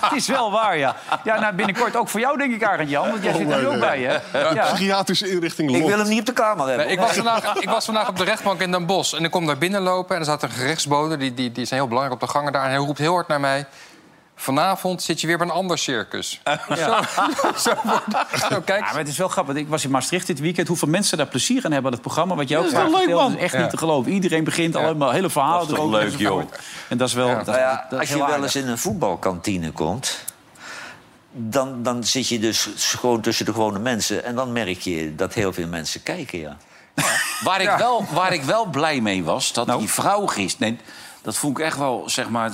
Speaker 1: Het is wel waar, ja. Ja, nou, binnenkort ook voor jou, denk ik, Arend Jan. Want jij zit
Speaker 3: Oh,
Speaker 1: er ook bij, hè?
Speaker 5: Ja,
Speaker 1: Ja.
Speaker 5: Psychiatrische inrichting
Speaker 2: Ik
Speaker 5: Londen.
Speaker 2: wil hem niet op de kamer hebben.
Speaker 4: Nee, ik, was vandaag, ik was vandaag op de rechtbank in Den Bosch. En ik kom daar binnenlopen en er zat een gerechtsbode. Die, die, die zijn heel belangrijk op de gangen daar. En hij roept heel hard naar mij... Vanavond zit je weer bij een ander circus. Zo, zo, wordt- zo kijk.
Speaker 1: Ja, maar het is wel grappig. Ik was in Maastricht dit weekend. Hoeveel mensen daar plezier aan hebben aan het programma. Wat jij ook
Speaker 4: Dat is
Speaker 1: vaak
Speaker 4: wel leuk,
Speaker 1: vertelt,
Speaker 4: man.
Speaker 1: is echt
Speaker 4: Ja.
Speaker 1: niet te geloven. Iedereen begint allemaal hele verhalen
Speaker 3: Dat is toch
Speaker 1: erover
Speaker 3: leuk, joh.
Speaker 1: enzovoort. En dat is wel... Dat, is-
Speaker 2: Nou
Speaker 1: dat
Speaker 2: ja,
Speaker 1: is
Speaker 2: als je
Speaker 1: heel
Speaker 2: wel
Speaker 1: aardig.
Speaker 2: eens in een voetbalkantine komt... Dan, dan zit je dus gewoon tussen de gewone mensen. En dan merk je dat heel veel mensen kijken, ja.
Speaker 3: Waar ik, wel, waar ik wel blij mee was, dat
Speaker 1: Nou.
Speaker 3: die vrouw gisteren... Nee, dat vond ik echt wel, zeg maar...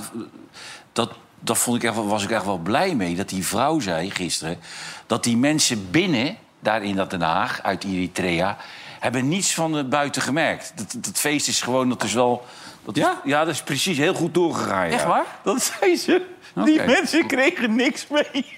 Speaker 3: Dat, dat vond ik echt, wel- was ik echt wel blij mee, dat die vrouw zei gisteren... dat die mensen binnen, daar in dat Den Haag, uit Eritrea... hebben niets van het buiten gemerkt. Dat, dat feest is gewoon, dat is wel... Dat is-
Speaker 1: Ja?
Speaker 3: ja, dat is precies heel goed doorgegaan. ja.
Speaker 1: Echt waar?
Speaker 3: Dat zei ze. Die
Speaker 1: Oké.
Speaker 3: mensen kregen niks mee.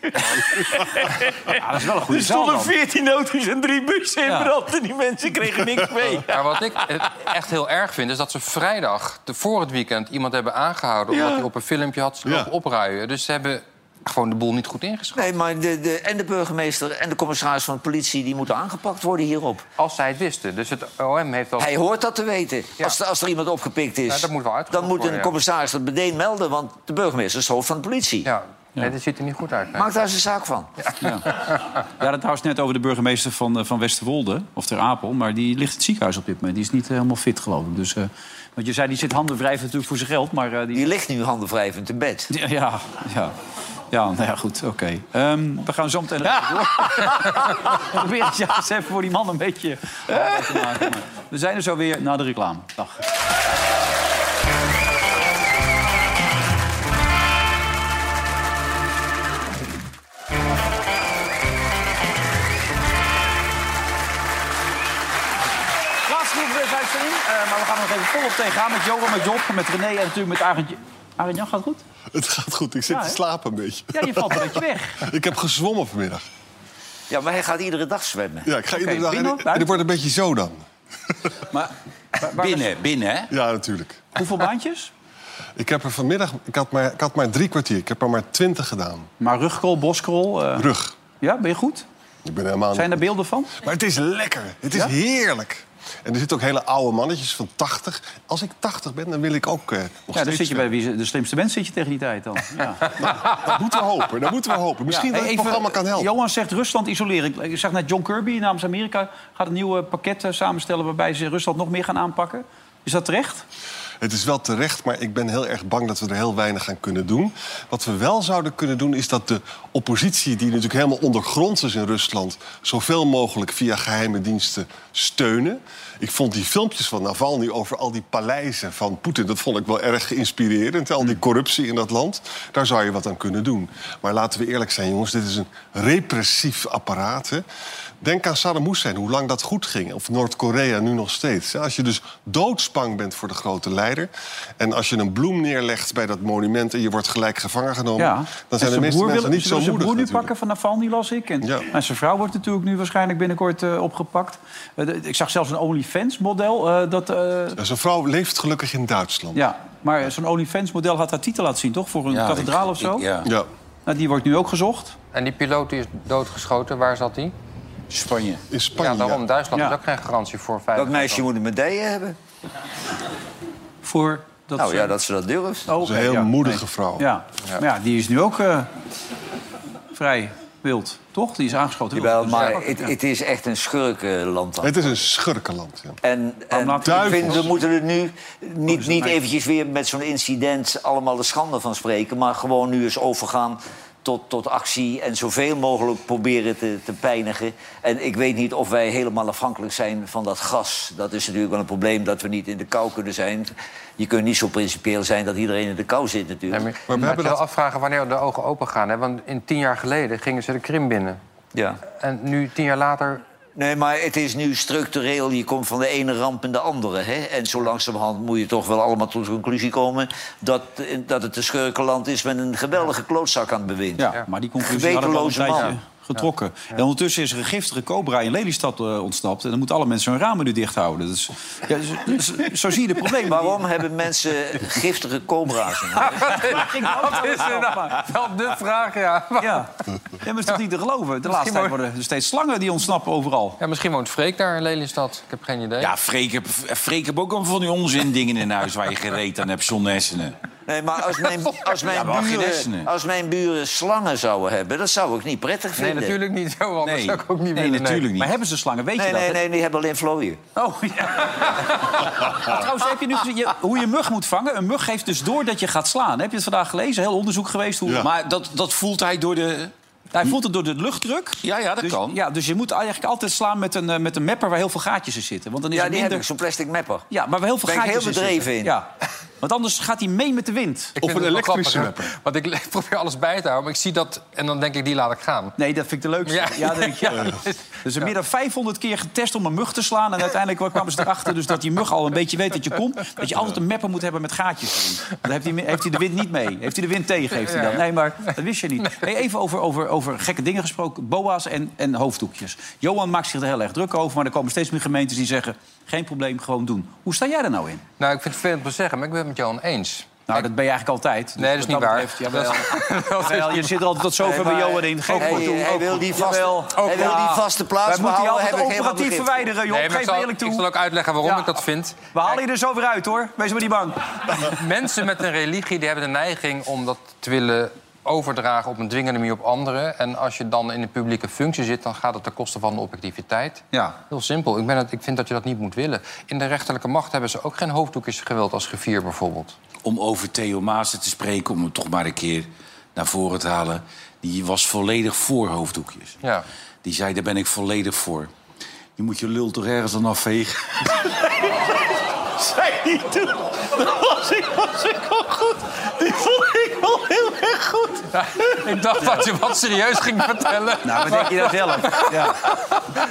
Speaker 1: Ja, dat is wel een goede
Speaker 3: Er
Speaker 1: zaal
Speaker 3: stonden
Speaker 1: dan.
Speaker 3: 14 auto's en drie bussen in
Speaker 1: Ja.
Speaker 3: brand... en die mensen kregen niks mee.
Speaker 4: Maar wat ik eh, echt heel erg vind, is dat ze vrijdag, te- voor het weekend, iemand hebben aangehouden. omdat hij op een filmpje had lopen opruien. Dus ze hebben gewoon de boel niet goed ingeschat.
Speaker 2: Nee, maar de, de, en de burgemeester en de commissaris van de politie... die moeten aangepakt worden hierop.
Speaker 4: Als zij het wisten. Dus het OM heeft al.
Speaker 2: Hij hoort dat te weten.
Speaker 4: Ja.
Speaker 2: Als, er- als er iemand opgepikt is,
Speaker 4: Ja, dat moet wel uitgezocht
Speaker 2: dan moet een
Speaker 4: worden, ja.
Speaker 2: commissaris dat meteen melden. Want de burgemeester is het hoofd van de politie.
Speaker 4: Ja, nee, dit ziet er niet goed uit. nee.
Speaker 2: Maak daar eens een zaak van.
Speaker 1: Ja, dat trouwens net over de burgemeester van, eh, van Westerwolde, of Ter Apel. Maar die ligt in het ziekenhuis op dit moment. Die is niet eh, helemaal fit, geloof ik. Dus, eh, want je zei, die zit handen wrijven natuurlijk voor zijn geld. Maar eh, die...
Speaker 2: Die ligt nu handenwrijvend in bed.
Speaker 1: Ja, ja, ja. Ja, nou ja, goed, oké. Ehm, we gaan zo meteen even door. Probeer het ja, eens even voor die man een beetje eh, te maken. maar We zijn er zo weer na de reclame. Dag. Laatste groepsuitstelling. Eh maar we gaan er nog even volop tegenaan met Joran, met Job, met René en natuurlijk met Arend... Arend Jan gaat het goed?
Speaker 5: Het gaat goed, ik zit
Speaker 1: Ja,
Speaker 5: te
Speaker 1: hè?
Speaker 5: slapen een beetje.
Speaker 1: Ja, je valt een beetje weg.
Speaker 5: Ik heb gezwommen vanmiddag.
Speaker 2: Ja, maar hij gaat iedere dag zwemmen.
Speaker 5: Ja, ik ga iedere dag...
Speaker 1: binnen,
Speaker 5: En, en
Speaker 1: buiten?
Speaker 5: het wordt een beetje zo dan.
Speaker 1: Maar waar- waar-
Speaker 3: Binnen, binnen, hè?
Speaker 5: Ja, natuurlijk.
Speaker 1: hoeveel baantjes?
Speaker 5: Ik heb er vanmiddag... Ik had maar, ik had maar drie kwartier. Ik heb er maar twintig gedaan.
Speaker 1: Maar rugkrol, boskrol. eh,
Speaker 5: Rug.
Speaker 1: ja, ben je goed?
Speaker 5: Ik ben helemaal
Speaker 1: Zijn
Speaker 5: niet...
Speaker 1: er beelden van?
Speaker 5: Maar het is lekker. Het is heerlijk. En er zitten ook hele oude mannetjes van 80. Als ik 80 ben, dan wil ik ook eh, nog
Speaker 1: Ja, dan
Speaker 5: steeds
Speaker 1: zit je bij wie, ze- de slimste mens zit je tegen die tijd dan. Ja.
Speaker 5: Dat moeten we hopen. Dat moeten we hopen. Misschien dat
Speaker 1: Hey,
Speaker 5: het
Speaker 1: even,
Speaker 5: programma kan helpen.
Speaker 1: Johan zegt Rusland isoleren. Ik- Ik zag net John Kirby namens Amerika gaat een nieuw eh, pakket eh, samenstellen waarbij ze Rusland nog meer gaan aanpakken. Is dat terecht?
Speaker 5: Het is wel terecht, maar ik ben heel erg bang dat we er heel weinig aan kunnen doen. Wat we wel zouden kunnen doen, is dat de oppositie, die natuurlijk helemaal ondergronds is in Rusland, zoveel mogelijk via geheime diensten steunen. Ik vond die filmpjes van Navalny over al die paleizen van Poetin, dat vond ik wel erg geïnspirerend. Al die corruptie in dat land, daar zou je wat aan kunnen doen. Maar laten we eerlijk zijn, jongens, dit is een repressief apparaat. Hè? Denk aan Saddam Hussein, hoe lang dat goed ging. Of Noord-Korea nu nog steeds. Als je dus doodsbang bent voor de grote leider... en als je een bloem neerlegt bij dat monument... en je wordt gelijk gevangen genomen...
Speaker 1: Ja.
Speaker 5: dan zijn
Speaker 1: En
Speaker 5: de
Speaker 1: zijn
Speaker 5: meeste
Speaker 1: broer
Speaker 5: mensen
Speaker 1: wil-
Speaker 5: niet
Speaker 1: ze
Speaker 5: zo
Speaker 1: wil zijn
Speaker 5: moedig
Speaker 1: broer nu
Speaker 5: natuurlijk.
Speaker 1: pakken van Navalny, las ik. En,
Speaker 5: Ja.
Speaker 1: en zijn vrouw wordt natuurlijk nu waarschijnlijk binnenkort eh, opgepakt. Eh, de- ik zag zelfs een OnlyFans-model. eh, dat, eh,
Speaker 5: Ja, Zijn vrouw leeft gelukkig in Duitsland.
Speaker 1: ja, maar zo'n OnlyFans-model had haar titel laten zien, toch? Voor een
Speaker 3: Ja,
Speaker 1: kathedraal
Speaker 3: ik-
Speaker 1: of zo.
Speaker 3: ik- ja.
Speaker 5: Ja.
Speaker 1: nou, die wordt nu ook gezocht.
Speaker 4: En die piloot die is doodgeschoten, waar zat hij?
Speaker 3: Spanje.
Speaker 5: In Spanje.
Speaker 4: Ja, daarom. Duitsland
Speaker 1: Ja.
Speaker 4: is ook geen garantie voor veiligheid.
Speaker 2: Dat meisje moet een medaille hebben.
Speaker 1: Voor dat
Speaker 2: Nou
Speaker 1: ze-
Speaker 2: ja, dat ze dat durft.
Speaker 1: Oh,
Speaker 5: Dat is
Speaker 1: oké,
Speaker 5: een heel
Speaker 1: ja.
Speaker 5: moedige vrouw.
Speaker 1: Ja. Maar ja, die is nu ook eh, vrij wild, toch? Die is aangeschoten.
Speaker 2: Jawel,
Speaker 1: Dus
Speaker 2: maar
Speaker 1: ja.
Speaker 2: het,
Speaker 1: Ja.
Speaker 2: het is echt een schurkenland. dan.
Speaker 5: Het is een schurkenland. Ja.
Speaker 2: En, en
Speaker 1: laat-
Speaker 2: ik vind, we
Speaker 5: Duivels.
Speaker 2: moeten er nu niet, niet
Speaker 1: mij-
Speaker 2: eventjes weer met zo'n incident allemaal de schande van spreken... maar gewoon nu eens overgaan tot, tot actie en zoveel mogelijk proberen te, te pijnigen. En ik weet niet of wij helemaal afhankelijk zijn van dat gas. Dat is natuurlijk wel een probleem dat we niet in de kou kunnen zijn. Je kunt niet zo principieel zijn dat iedereen in de kou zit natuurlijk.
Speaker 4: maar, we hebben wel afvragen wanneer de ogen open gaan. Hè? Want in tien jaar geleden gingen ze de Krim binnen.
Speaker 2: Ja.
Speaker 4: En nu, tien jaar later...
Speaker 2: Nee, maar het is nu structureel. Je komt van de ene ramp in de andere. Hè? En zo langzamerhand moet je toch wel allemaal tot de conclusie komen... dat, eh, dat het een schurkenland is met een geweldige klootzak aan het bewind.
Speaker 1: Ja, maar die conclusie hadden we al een
Speaker 2: Gewetenloze
Speaker 1: tijdje
Speaker 2: man.
Speaker 1: getrokken. En ondertussen is er een giftige cobra in Lelystad eh, ontsnapt. En dan moeten alle mensen hun ramen nu dicht houden. Dus, ja, zo, zo- zo zie je de problemen.
Speaker 2: Waarom hebben mensen giftige cobra's in huis?
Speaker 4: Dat is nou? inderdaad wel de vraag, ja.
Speaker 1: Ja. ja, maar het is toch niet te geloven? De laatste tijd
Speaker 4: woont-
Speaker 1: worden er steeds slangen die ontsnappen overal.
Speaker 4: Ja, misschien woont Freek daar in Lelystad. Ik heb geen idee.
Speaker 11: Ja, Freek heb, Freek heb ook al van die onzin dingen in huis waar je gereed aan hebt zonder hersenen.
Speaker 2: Nee, maar als mijn, als
Speaker 11: Ja,
Speaker 2: mijn,
Speaker 11: maar geen
Speaker 2: buren,
Speaker 11: hersenen.
Speaker 2: als mijn buren slangen zouden hebben, dat zou ik niet prettig
Speaker 4: nee,
Speaker 2: vinden.
Speaker 4: natuurlijk niet. Zo anders
Speaker 11: Nee.
Speaker 4: zou ik ook niet
Speaker 11: Nee,
Speaker 4: willen.
Speaker 11: natuurlijk niet.
Speaker 1: Maar hebben ze slangen? Weet
Speaker 2: Nee,
Speaker 1: je dat?
Speaker 2: nee,
Speaker 1: hè?
Speaker 2: nee, die hebben alleen vlooien.
Speaker 1: Oh, ja. Trouwens, heb je nu gezien je- hoe je mug moet vangen? Een mug geeft dus door dat je gaat slaan. Heb je het vandaag gelezen? Heel onderzoek geweest. Hoe... Maar
Speaker 11: Maar dat, dat voelt hij door de...
Speaker 1: hij voelt het door de luchtdruk.
Speaker 11: Ja, ja, dat
Speaker 1: Dus,
Speaker 11: kan.
Speaker 1: ja, dus je moet eigenlijk altijd slaan met een, eh, met een mapper waar heel veel gaatjes in zitten. Want dan is
Speaker 2: Ja,
Speaker 1: er
Speaker 2: die
Speaker 1: minder...
Speaker 2: heb ik, zo'n plastic mapper.
Speaker 1: Ja, maar waar heel veel
Speaker 2: Ben ik
Speaker 1: gaatjes
Speaker 2: heel bedreven
Speaker 1: zitten.
Speaker 2: in.
Speaker 1: Ja. Want anders gaat hij mee met de wind.
Speaker 4: Ik
Speaker 5: Of
Speaker 4: vind
Speaker 5: een
Speaker 4: het wel
Speaker 5: elektrische
Speaker 4: grappig, hè? Want ik le- probeer alles bij te houden, maar ik zie dat en dan denk ik, die laat ik gaan.
Speaker 1: Nee, dat vind ik de leukste. Ja,
Speaker 4: Ja.
Speaker 1: dat denk ik, ja. Dus er meer dan 500 keer getest om een mug te slaan. En uiteindelijk kwamen ze erachter dus dat die mug al een beetje weet dat je komt. Dat je altijd een mapper moet hebben met gaatjes erin. Dan heeft hij, heeft hij de wind niet mee. Heeft hij de wind tegen, heeft hij dan. Nee, maar dat wist je niet. Hey, even over, over, over gekke dingen gesproken. Boa's en, en hoofddoekjes. Johan maakt zich er heel erg druk over. Maar er komen steeds meer gemeentes die zeggen... geen probleem, gewoon doen. Hoe sta jij er nou in?
Speaker 4: Nou, ik vind het vervelend om te zeggen, maar ik ben het met Johan eens.
Speaker 1: Nou, dat ben je eigenlijk altijd. Dus
Speaker 4: Nee, dat is
Speaker 1: wat
Speaker 4: niet waar.
Speaker 1: betreft, jawel. Jawel, je zit er altijd tot zover
Speaker 2: Nee,
Speaker 1: bij
Speaker 2: maar
Speaker 1: Johan in. Geen
Speaker 2: hij-
Speaker 1: goed doen,
Speaker 2: hij
Speaker 1: ook
Speaker 2: wil
Speaker 1: goed.
Speaker 2: die vaste-
Speaker 1: Jawel.
Speaker 2: hij wil die vaste plaats
Speaker 1: Wij moeten die
Speaker 2: behouden,
Speaker 1: altijd
Speaker 2: heb ik helemaal
Speaker 1: operatief
Speaker 2: begrip.
Speaker 1: verwijderen, joh.
Speaker 4: Nee, maar
Speaker 1: Geef
Speaker 4: ik zal,
Speaker 1: eerlijk toe.
Speaker 4: ik zal ook uitleggen waarom
Speaker 1: Ja.
Speaker 4: ik dat vind.
Speaker 1: We halen je er zo weer uit, hoor. Wees maar niet bang.
Speaker 4: Mensen met een religie die hebben de neiging om dat te willen overdragen op een dwingende manier op anderen. En als je dan in een publieke functie zit, dan gaat het ten koste van de objectiviteit.
Speaker 1: Ja.
Speaker 4: Heel simpel. Ik, ben het, ik vind dat je dat niet moet willen. In de rechterlijke macht hebben ze ook geen hoofddoekjes geweld als gevier bijvoorbeeld.
Speaker 11: Om over Theo Maassen te spreken, om hem toch maar een keer naar voren te halen... die was volledig voor hoofddoekjes.
Speaker 4: Ja.
Speaker 11: Die zei, daar ben ik volledig voor. Je moet je lul toch ergens aan afvegen?
Speaker 3: zei hij toen. Dat was ik, was ik al goed. Die vond ik wel heel erg goed.
Speaker 4: ik dacht dat je wat serieus ging vertellen.
Speaker 1: Nou, wat denk je nou zelf? Ja.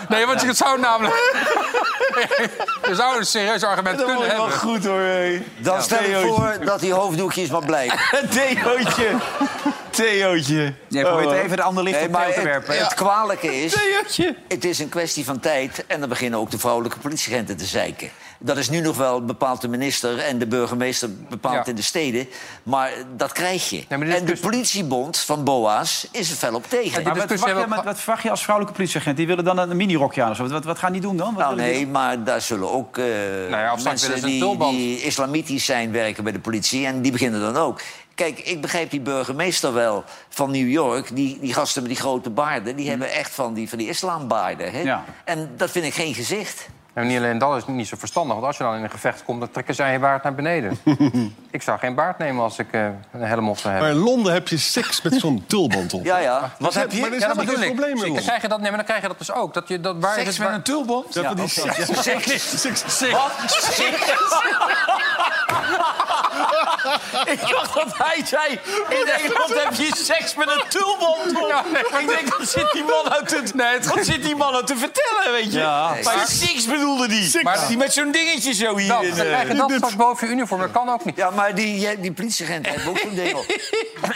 Speaker 4: Nee, want je zou namelijk... je zou een serieus argument
Speaker 3: Dat
Speaker 4: kunnen
Speaker 3: vond ik wel
Speaker 4: hebben.
Speaker 3: goed hoor. hé.
Speaker 2: Dan stel ik
Speaker 3: Theootje.
Speaker 2: voor dat die hoofddoekjes maar blijven.
Speaker 3: Theootje. Theootje.
Speaker 1: Jij probeert
Speaker 3: Oh,
Speaker 1: even een ander licht
Speaker 2: Nee,
Speaker 1: op Theo
Speaker 2: maar
Speaker 1: te
Speaker 2: het,
Speaker 1: werpen.
Speaker 2: het kwalijke is,
Speaker 3: Theootje.
Speaker 2: het is een kwestie van tijd... en dan beginnen ook de vrouwelijke politieagenten te zeiken. Dat is nu nog wel bepaald de minister en de burgemeester bepaald
Speaker 4: Ja.
Speaker 2: in de steden. Maar dat krijg je.
Speaker 4: maar dit is
Speaker 2: en de
Speaker 4: dus-
Speaker 2: politiebond van BOA's is er fel op tegen.
Speaker 1: Maar
Speaker 4: Die
Speaker 1: wat,
Speaker 4: discussie
Speaker 1: verwacht
Speaker 4: hebben
Speaker 1: je,
Speaker 4: we-
Speaker 1: wat verwacht je als vrouwelijke politieagent? Die willen dan een minirokje aan of zo. Wat, wat gaan die doen dan? Wat
Speaker 2: Nou
Speaker 1: willen die-
Speaker 2: nee, maar daar zullen ook eh,
Speaker 4: Nou ja, of straks
Speaker 2: mensen
Speaker 4: willen ze een
Speaker 2: die,
Speaker 4: tulband.
Speaker 2: die islamitisch zijn werken bij de politie. En die beginnen dan ook. Kijk, ik begrijp die burgemeester wel van New York. Die, die gasten met die grote baarden,
Speaker 4: Hm.
Speaker 2: die hebben echt van die, van die islambaarden. Hè?
Speaker 1: Ja.
Speaker 2: En dat vind ik geen gezicht.
Speaker 4: En niet alleen dat is niet zo verstandig, want als je dan in een gevecht komt... dan trekken zij je baard naar beneden. ik zou geen baard nemen als ik eh, een helm op zou hebben.
Speaker 5: Maar in Londen heb je seks met zo'n tulband op.
Speaker 2: Ja, ja.
Speaker 5: Wat heb je? Maar er is
Speaker 4: Ja, dat
Speaker 5: helemaal
Speaker 4: bedoel
Speaker 5: geen
Speaker 4: ik.
Speaker 5: probleem in
Speaker 4: Dan
Speaker 5: Londen.
Speaker 4: krijg je dat, nee, maar dan krijg je dat dus ook. Dat je, dat, waar is het, waar-
Speaker 11: tulbond?
Speaker 5: Ja, van die seks- ja.
Speaker 3: Ik dacht dat hij zei... In Nederland heb je seks met een tulband op. Ik denk, wat zit die man nou te, wat zit die man nou te vertellen, weet je?
Speaker 1: Ja.
Speaker 3: Maar seks bedoelde die.
Speaker 4: Maar-
Speaker 3: die met zo'n dingetje zo hier.
Speaker 4: Nou,
Speaker 3: in,
Speaker 4: dan
Speaker 3: eh.
Speaker 4: krijg je dat straks boven je uniform. Dat kan ook niet.
Speaker 2: Ja, maar die, jij- die politieagenten hebben ook zo'n ding op.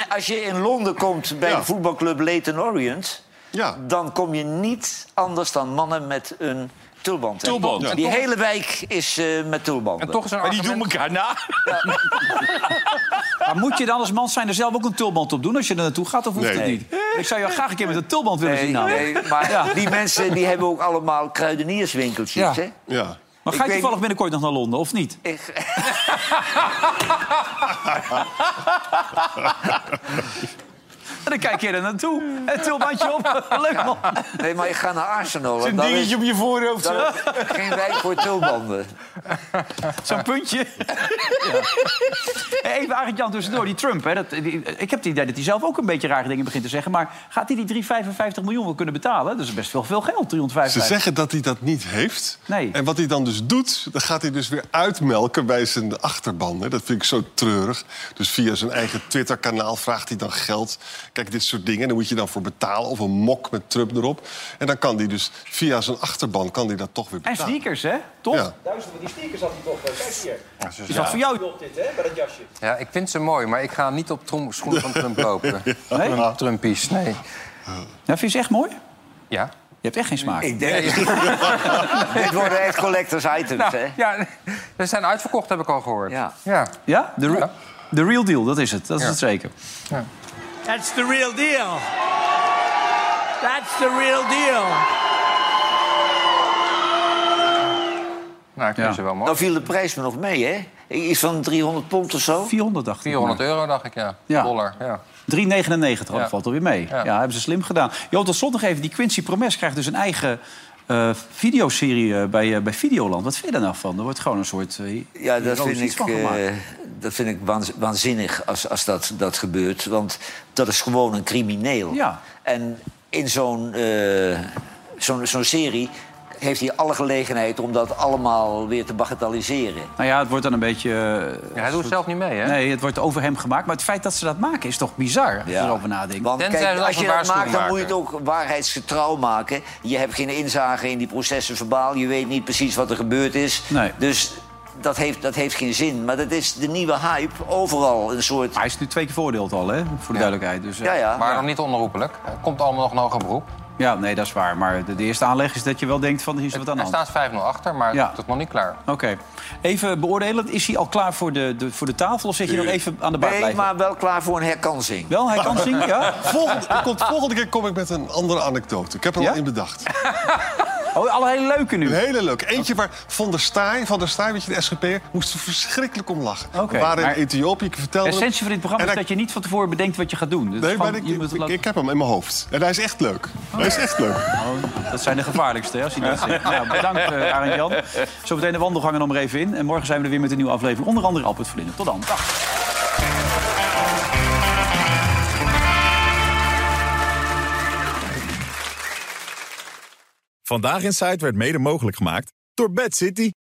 Speaker 2: Als je in Londen komt bij
Speaker 5: Ja.
Speaker 2: de voetbalclub Leighton Orient...
Speaker 5: Ja.
Speaker 2: dan kom je niet anders dan mannen met een tulband. tegen.
Speaker 11: Tulband.
Speaker 2: Die hele wijk is eh, met tulbanden.
Speaker 4: En toch is er een
Speaker 3: Maar die doen
Speaker 4: argument-
Speaker 3: elkaar na.
Speaker 1: Maar moet je dan als man zijn er zelf ook een tulband op doen als je er naartoe gaat? Of hoeft
Speaker 5: Nee.
Speaker 1: het niet? Ik zou jou graag een keer met een tulband willen zien.
Speaker 2: Nee,
Speaker 1: namelijk.
Speaker 2: Eh, nee, maar
Speaker 1: Ja.
Speaker 2: die mensen die hebben ook allemaal kruidenierswinkeltjes.
Speaker 1: Ja.
Speaker 2: Hè?
Speaker 5: Ja.
Speaker 1: Maar ga je
Speaker 2: weet-
Speaker 1: toevallig binnenkort nog naar Londen, of niet?
Speaker 2: Ik-
Speaker 1: En dan kijk je er naartoe. En tulbandje op. Leuk man.
Speaker 2: Nee, maar ik ga naar Arsenal. want
Speaker 1: Zo'n
Speaker 2: daar
Speaker 1: dingetje
Speaker 2: is-
Speaker 1: op je voorhoofd,
Speaker 2: daar
Speaker 1: zo.
Speaker 2: is Geen wijk voor tulbanden.
Speaker 1: Zo'n puntje. Hey, Even Arend Jan tussendoor. Die Trump, hè, dat, die- eh, ik heb het idee dat hij zelf ook een beetje rare dingen begint te zeggen. Maar gaat hij die 355 miljoen wel kunnen betalen? Dat is best wel veel geld,
Speaker 5: Ze
Speaker 1: 355.
Speaker 5: zeggen dat hij dat niet heeft.
Speaker 1: Nee.
Speaker 5: En wat hij dan dus doet, dan gaat hij dus weer uitmelken bij zijn achterban. Hè. Dat vind ik zo treurig. Dus via zijn eigen Twitter-kanaal vraagt hij dan geld. Kijk, dit soort dingen. En daar moet je dan voor betalen. Of een mok met Trump erop. En dan kan hij dus via zijn achterban kan hij dat toch weer
Speaker 1: En
Speaker 5: betalen.
Speaker 1: sneakers, hè? Toch?
Speaker 5: Ja.
Speaker 1: Duizenden die sneakers had hij toch. eh, Kijk hier.
Speaker 4: ze
Speaker 1: Is dat voor jou? dit, hè? Bij dat jasje.
Speaker 4: Ja, ik vind ze mooi, maar ik ga niet op trom- schoenen van Trump lopen.
Speaker 1: Nee?
Speaker 4: Trumpies, nee.
Speaker 1: Nou, vind je ze echt mooi?
Speaker 4: Ja.
Speaker 1: Je hebt echt geen smaak.
Speaker 2: Ik denk, dit worden echt collectors items, hè?
Speaker 4: Nou, ja, ze zijn uitverkocht, heb ik al gehoord.
Speaker 2: Ja.
Speaker 4: ja.
Speaker 1: Ja? De, re- de real deal, dat is het. Dat is
Speaker 4: Ja.
Speaker 1: het zeker.
Speaker 12: That's the real deal. That's the real deal.
Speaker 4: Nou, ik vind ze wel mooi.
Speaker 2: Dan viel de prijs me nog mee, hè? Iets van 300 pond of zo.
Speaker 1: 400 dacht ik.
Speaker 4: 400 euro, dacht ik, ja.
Speaker 1: Ja.
Speaker 4: Dollar, ja.
Speaker 1: 3,99, oh,
Speaker 4: Ja.
Speaker 1: dat valt alweer mee. Ja.
Speaker 4: Ja.
Speaker 1: hebben ze slim gedaan. Joh, tot slot nog even, die Quincy Promes krijgt dus een eigen eh, videoserie eh, bij, eh, bij Videoland. Wat vind je daar nou van? Er wordt gewoon een soort... eh,
Speaker 2: Ja, dat
Speaker 1: erotisch
Speaker 2: vind,
Speaker 1: iets
Speaker 2: ik,
Speaker 1: van gemaakt.
Speaker 2: eh, dat vind ik waanz- waanzinnig als, als dat, dat gebeurt. Want dat is gewoon een crimineel.
Speaker 1: Ja.
Speaker 2: En in zo'n eh, zo'n zo'n serie heeft hij alle gelegenheid om dat allemaal weer te bagatelliseren.
Speaker 1: Nou ja, het wordt dan een beetje... eh,
Speaker 4: Ja, hij doet zelf niet mee, hè?
Speaker 1: Nee, het wordt over hem gemaakt. Maar het feit dat ze dat maken is toch bizar, als je
Speaker 2: Ja.
Speaker 1: erover nadenkt.
Speaker 2: Want
Speaker 4: Tenzij
Speaker 2: kijk,
Speaker 4: ze dat
Speaker 2: als je
Speaker 4: een
Speaker 2: dat
Speaker 4: waarschuwing
Speaker 2: maakt, dan moet je het
Speaker 4: maken.
Speaker 2: ook waarheidsgetrouw maken. Je hebt geen inzage in die processen verbaal. Je weet niet precies wat er gebeurd is.
Speaker 1: Nee.
Speaker 2: Dus dat heeft, dat heeft geen zin. Maar dat is de nieuwe hype. Overal een soort...
Speaker 1: Hij is nu twee keer veroordeeld al, hè? Voor de duidelijkheid. Dus, eh,
Speaker 2: Ja, ja.
Speaker 4: Maar nog niet onroepelijk. Het komt allemaal nog een hoger beroep.
Speaker 1: ja, nee, dat is waar. Maar de, de eerste aanleg is dat je wel denkt van, hier is wat aan de
Speaker 4: Er
Speaker 1: hand.
Speaker 4: staat 5-0 achter, maar
Speaker 1: Ja.
Speaker 4: dat is nog niet klaar.
Speaker 1: Oké. Even beoordelend, is hij al klaar voor de, de, voor de tafel... of zit je nog even aan de baard
Speaker 2: Nee,
Speaker 1: blijven?
Speaker 2: maar wel klaar voor een herkansing.
Speaker 1: Wel, hij kan zingen, ja?
Speaker 5: Volgende, er komt, volgende keer kom ik met een andere anekdote. Ik heb er
Speaker 1: Ja?
Speaker 5: al in bedacht.
Speaker 1: Oh, alle hele leuke nu.
Speaker 5: Een hele leuke. Eentje waar Van der Staaij, Van der Staaij, weet je, de SGP'er... moest er verschrikkelijk om lachen.
Speaker 1: Oké,
Speaker 5: We waren
Speaker 1: maar-
Speaker 5: in Ethiopië, ik
Speaker 1: De
Speaker 5: vertelde... hem-
Speaker 1: essentie van dit programma
Speaker 5: En
Speaker 1: is
Speaker 5: hij-
Speaker 1: dat je niet van tevoren bedenkt wat je gaat doen. Dus
Speaker 5: Nee,
Speaker 1: gewoon,
Speaker 5: maar ik,
Speaker 1: je moet het
Speaker 5: ik,
Speaker 1: laten-
Speaker 5: ik heb hem in mijn hoofd. En hij is echt leuk. Hij is echt leuk.
Speaker 1: Dat zijn de gevaarlijkste, hè, als je dat zegt. Nou, bedankt, eh Arend Jan. Zometeen de wandelgangen om er even in. En morgen zijn we er weer met een nieuwe aflevering. Onder andere Albert Verlinden. Tot dan. Dag.
Speaker 13: Vandaag in Site werd mede mogelijk gemaakt door Bad City.